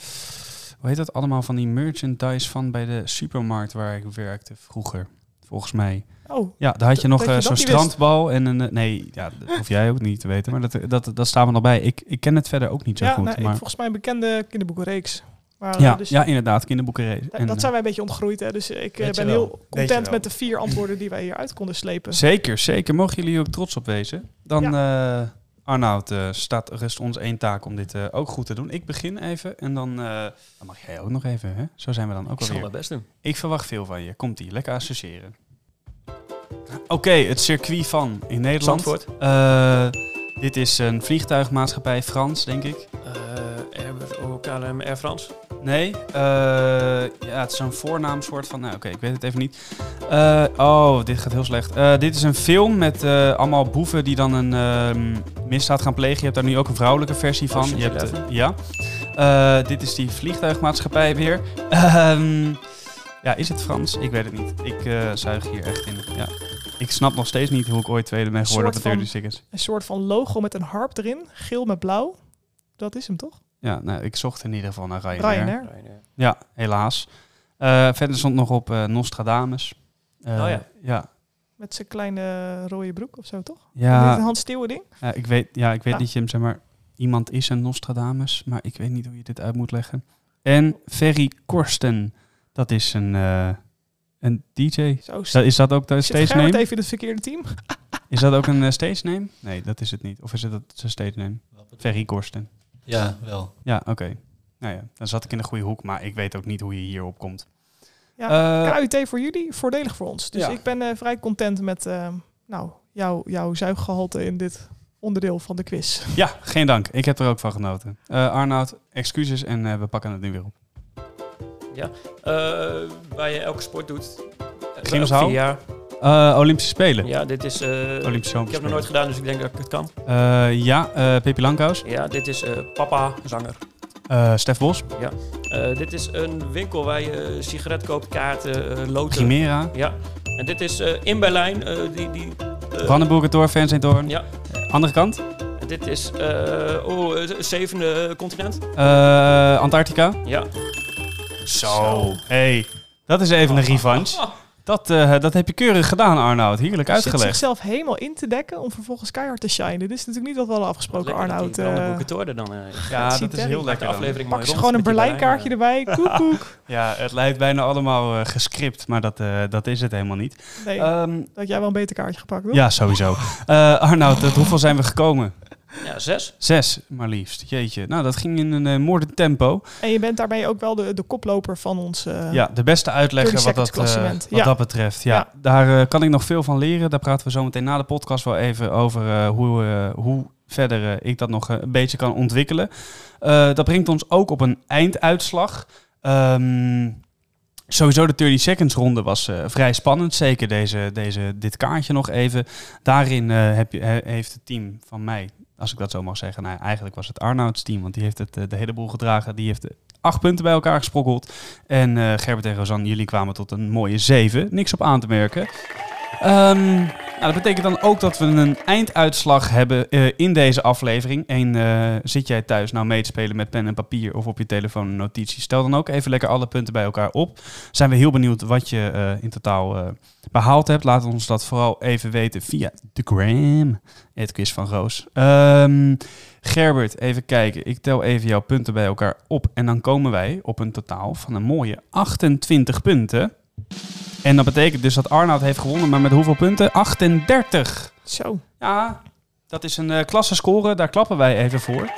hoe heet dat allemaal, van die merchandise van bij de supermarkt waar ik werkte vroeger. Volgens mij.
Oh,
Ja, daar had je nog
Dat je
eh,
dat
zo'n
niet wist.
strandbal en een... eh, nee, ja, dat hoef jij ook niet te weten. Maar dat, eh, dat, dat staan we nog bij. Ik, ik ken het verder ook niet zo
ja,
goed.
nou, ik-
maar,
volgens mij een bekende kinderboekenreeks. Maar, eh,
ja,
dus
ja, inderdaad. Kinderboekenrees.
da-
En,
dat
eh,
zijn wij een beetje ontgroeid. Hè? Dus ik eh,
Weet je
ben
wel.
heel
Weet je
content
wel.
met de vier antwoorden die wij hieruit konden slepen.
Zeker, zeker. Mogen jullie hier ook trots op wezen? Dan, eh, Arnoud, eh, staat, rest ons één taak om dit eh, ook goed te doen. Ik begin even en dan, eh, dan mag jij ook nog even. Hè? Zo zijn we dan ook
Ik zal
alweer.
mijn best doen.
Ik verwacht veel van je. Komt-ie, lekker associëren. Oké, het circuit van in Nederland.
Zandvoort.
Eh, dit is een vliegtuigmaatschappij, Frans, denk ik.
Eh, Air- oh, KLM Air France.
Nee, eh, ja, het is een voornaamsoort van. Nou, oké, ik weet het even niet. Eh, oh, dit gaat heel slecht. Eh, dit is een film met eh, allemaal boeven die dan een ehm, misdaad gaan plegen. Je hebt daar nu ook een vrouwelijke versie van.
Ocean's
Je hebt, eh,
Eleven.
ja. Eh, dit is die vliegtuigmaatschappij weer. Ehm, ja, is het Frans? Ik weet het niet. Ik eh, zuig hier echt in. Ja. Ik snap nog steeds niet hoe ik ooit tweede ben geworden op de
soort
30 Seconds.
Een soort van logo met een harp erin, geel met blauw. Dat is hem toch?
Ja, nou, ik zocht in ieder geval naar Ryanair.
Ryanair.
Ja, helaas. Eh, verder stond nog op eh, Nostradamus. Eh,
Oh ja.
Ja,
Met zijn kleine eh, rode broek of zo, toch? Is dit Ah. een
ja,
Hans Steeuwen ding?
ja, ik weet, ja, ik weet
Ja.
dat je hem zeg maar... Iemand is een Nostradamus, maar ik weet niet hoe je dit uit moet leggen. En Ferry Korsten, dat is een, eh, een DJ.
Zo,
Is dat, is dat ook de
zit
stage
Gerrit
name?
even in het verkeerde team?
Is dat ook een eh, stage name? Nee, dat is het niet. Of is het dat zijn stage name? Ferry Korsten.
Ja, wel.
Ja, oké. Nou ja, dan zat ik in de goede hoek, maar ik weet ook niet hoe je hierop komt.
Ja,
Eh,
KUT voor jullie, voordelig voor ons. Dus
Ja.
ik ben eh, vrij content met eh, nou, jouw, jouw zuiggehalte in dit onderdeel van de quiz.
Ja, geen dank. Ik heb er ook van genoten. Eh Arnoud, excuses en eh, we pakken het nu weer op.
Eh, waar je elke sport doet.
Gymzaal?
Ja,
Eh, Olympische Spelen.
ja, dit is... eh,
Olympische
ik heb het nog nooit gedaan, dus ik denk dat ik het kan.
gedaan. ja, eh Pippi Langkous.
Ja, dit is eh, papa, zanger.
Eh, Stef Bos.
Eh, dit is een winkel waar je sigaret koopt, kaarten, eh loten.
Chimera.
Ja, en dit is eh, in Berlijn. eh, die, die, eh,
Brandenburger Tor, Fernsehtoren.
Ja.
Andere kant.
en dit is eh, oh, het zevende continent.
Eh, Antarctica.
Ja.
hey, dat is even een
Oh.
revanche. Dat, eh, dat heb je keurig gedaan, Arnoud. Heerlijk
Zit
uitgelegd.
zichzelf helemaal in te dekken om vervolgens keihard te shinen. Dit is natuurlijk niet wat we hadden afgesproken,
Lekker dat die
Arnoud.
Brandenburger
eh,
Tor er dan. eh,
Ja,
ziet
dat is
Terry.
heel
maakt de
lekker dan.
aflevering
Pak ze
mooi rond
gewoon een
met die
Berlijnkaartje
Berlijnen.
erbij. Koek, koek.
Ja, het lijkt bijna allemaal eh, gescript, maar dat, eh, dat is het helemaal niet.
Nee,
Ehm,
dat had jij wel een beter kaartje gepakt, hoor.
ja, sowieso. Eh, Arnoud, tot hoeveel zijn we gekomen?
Ja, zes.
Zes, maar liefst. Jeetje. Nou, dat ging in een eh moordend tempo.
En je bent daarmee ook wel de, de koploper van ons... eh,
ja, de beste uitlegger
30
wat, dat,
seconds
eh,
klassement.
wat
Ja.
dat betreft. Ja,
Ja.
Daar eh, kan ik nog veel van leren. Daar praten we zo meteen na de podcast wel even over eh, hoe, eh, hoe verder eh, ik dat nog eh, een beetje kan ontwikkelen. Eh, dat brengt ons ook op een einduitslag. Ehm, sowieso de 30 seconds ronde was eh, vrij spannend. Zeker deze, deze, dit kaartje nog even. Daarin eh, heb je, he- heeft het team van mij, als ik dat zo mag zeggen, nou, eigenlijk was het Arnouds team, want die heeft het, eh, de hele boel gedragen. Die heeft eh, acht punten bij elkaar gesprokkeld. En eh, Gerbert en Rosanne, jullie kwamen tot een mooie 7. Niks op aan te merken. Ehm, nou, dat betekent dan ook dat we een einduitslag hebben eh, in deze aflevering. En eh, zit jij thuis nou mee te spelen met pen en papier of op je telefoon een notitie? Stel dan ook even lekker alle punten bij elkaar op. Zijn we heel benieuwd wat je eh, in totaal eh, behaald hebt. Laat ons dat vooral even weten via de gram. Het quiz van Roos. Ehm, Gerbert, even kijken. Ik tel even jouw punten bij elkaar op. En dan komen wij op een totaal van een mooie 28 punten. En dat betekent dus dat Arnoud heeft gewonnen, maar met hoeveel punten? 38.
Zo.
Ja, dat is een eh klasse score. Daar klappen wij even voor.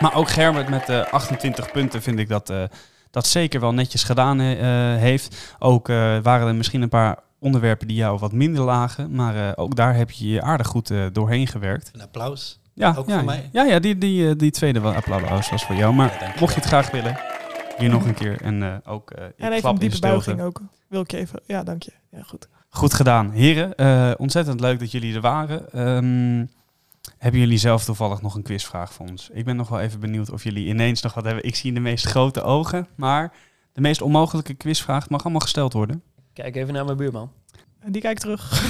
Maar ook Gerbert met eh 28 punten vind ik dat, eh, dat zeker wel netjes gedaan eh, eh, heeft. Ook eh, waren er misschien een paar onderwerpen die jou wat minder lagen. Maar eh, ook daar heb je je aardig goed eh, doorheen gewerkt.
Een applaus.
Ja,
Ook
ja,
voor mij?
Ja, ja die, die, eh, die tweede wel applaus was voor jou. Maar
Ja, dank je
mocht je het graag willen, hier nog een keer. En eh, ook eh
En
ik
even
klap
een
in
diepe
stilte.
buiging ook. Wil ik je even... Ja, dank je. Ja, goed.
Goed gedaan, heren. Eh, ontzettend leuk dat jullie er waren. Ehm, hebben jullie zelf toevallig nog een quizvraag voor ons? Ik ben nog wel even benieuwd of jullie ineens nog wat hebben. Ik zie de meest grote ogen, maar de meest onmogelijke quizvraag mag allemaal gesteld worden.
Kijk even naar mijn buurman.
En die kijkt terug.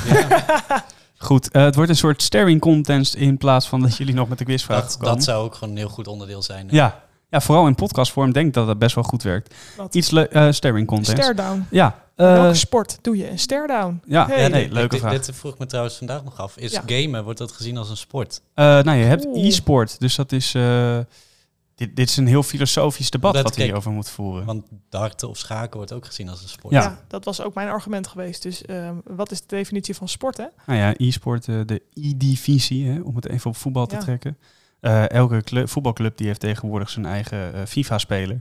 Goed, eh, het wordt een soort staring contest in plaats van dat jullie nog met de quizvraag
Dat,
komen.
dat zou ook gewoon een heel goed onderdeel zijn.
ja. ja, vooral in podcastvorm denk ik dat dat best wel goed werkt.
Wat?
Iets le- eh, staring contest.
Stare down.
Ja,
Welke
Eh,
sport doe je een stare-down?
ja,
Hey.
ja, nee, leuke
dit,
vraag.
Dit vroeg ik me trouwens vandaag nog af. Is
Ja.
gamen, wordt dat gezien als een sport?
Eh, nou, je hebt
Oeh.
e-sport, dus dat is... eh, dit, dit is een heel filosofisch debat
Omdat,
wat we
kijk,
hierover moeten voeren.
Want darten of schaken wordt ook gezien als een sport.
Ja.
Ja. dat was ook mijn argument geweest. Dus ehm, wat is de definitie van sport, hè?
Nou ja, e-sport, eh, de e-divisie, hè, om het even op voetbal te
Ja.
trekken. Eh, elke clu- voetbalclub die heeft tegenwoordig zijn eigen eh, FIFA-speler.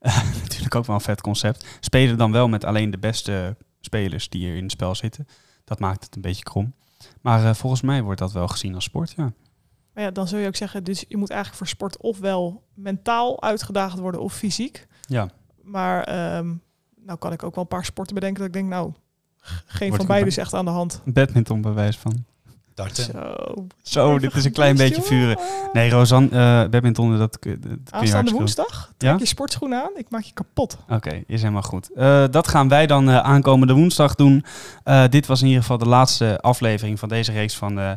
[LAUGHS] natuurlijk ook wel een vet concept. Spelen dan wel met alleen de beste spelers die hier in het spel zitten. Dat maakt het een beetje krom. Maar eh, volgens mij wordt dat wel gezien als sport, ja.
Maar ja, dan zul je ook zeggen, dus je moet eigenlijk voor sport ofwel mentaal uitgedaagd worden of fysiek.
Ja.
Maar ehm, nou kan ik ook wel een paar sporten bedenken dat ik denk, nou, g- geen
goed
van beide
bij-
is echt aan de hand.
Badminton bewijs van.
Darten.
Zo.
Zo, dit is een klein beetje vuren. Nee, Rosanne, eh badminton, dat, kun- dat kun je
Aanstaande
hartstikke goed.
woensdag
Ja?
trek je sportschoenen aan, ik maak je kapot.
Oké, is helemaal goed. Eh, dat gaan wij dan eh, aankomende woensdag doen. Eh, dit was in ieder geval de laatste aflevering van deze reeks van eh,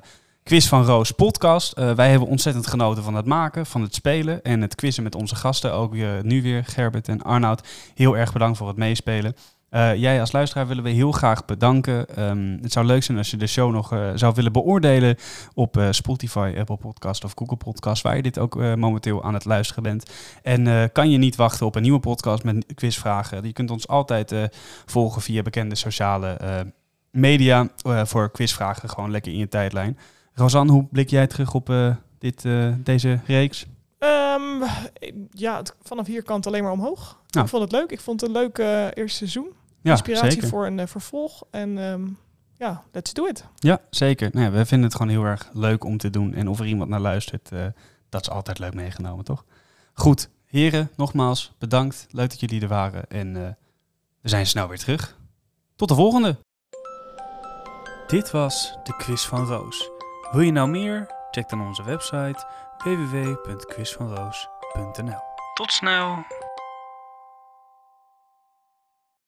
Quiz van Roos podcast. Eh, wij hebben ontzettend genoten van het maken, van het spelen en het quizzen met onze gasten. Ook eh, nu weer Gerbert en Arnoud. Heel erg bedankt voor het meespelen. Eh, jij als luisteraar willen we heel graag bedanken. Ehm, het zou leuk zijn als je de show nog eh, zou willen beoordelen op eh, Spotify, Apple Podcast of Google Podcast, waar je dit ook eh, momenteel aan het luisteren bent. En eh, kan je niet wachten op een nieuwe podcast met quizvragen? Je kunt ons altijd eh, volgen via bekende sociale eh, media eh, voor quizvragen, gewoon lekker in je tijdlijn. Rosanne, hoe blik jij terug op eh, dit, eh, deze reeks?
Ehm, ja, het- vanaf hier kan het alleen maar omhoog.
Nou.
Ik vond het leuk. Ik vond het een leuk eh, eerste seizoen.
Ja,
Inspiratie
zeker.
voor een eh, vervolg. En ehm, ja, let's do it.
Ja, zeker. Nou, ja, we vinden het gewoon heel erg leuk om te doen. En of er iemand naar luistert, eh, dat is altijd leuk meegenomen, toch? Goed, heren, nogmaals bedankt. Leuk dat jullie er waren. En eh, we zijn snel weer terug. Tot de volgende!
Dit was de Quiz van Roos. Wil je nou meer? Check dan onze website www.quizvanroos.nl. Tot snel!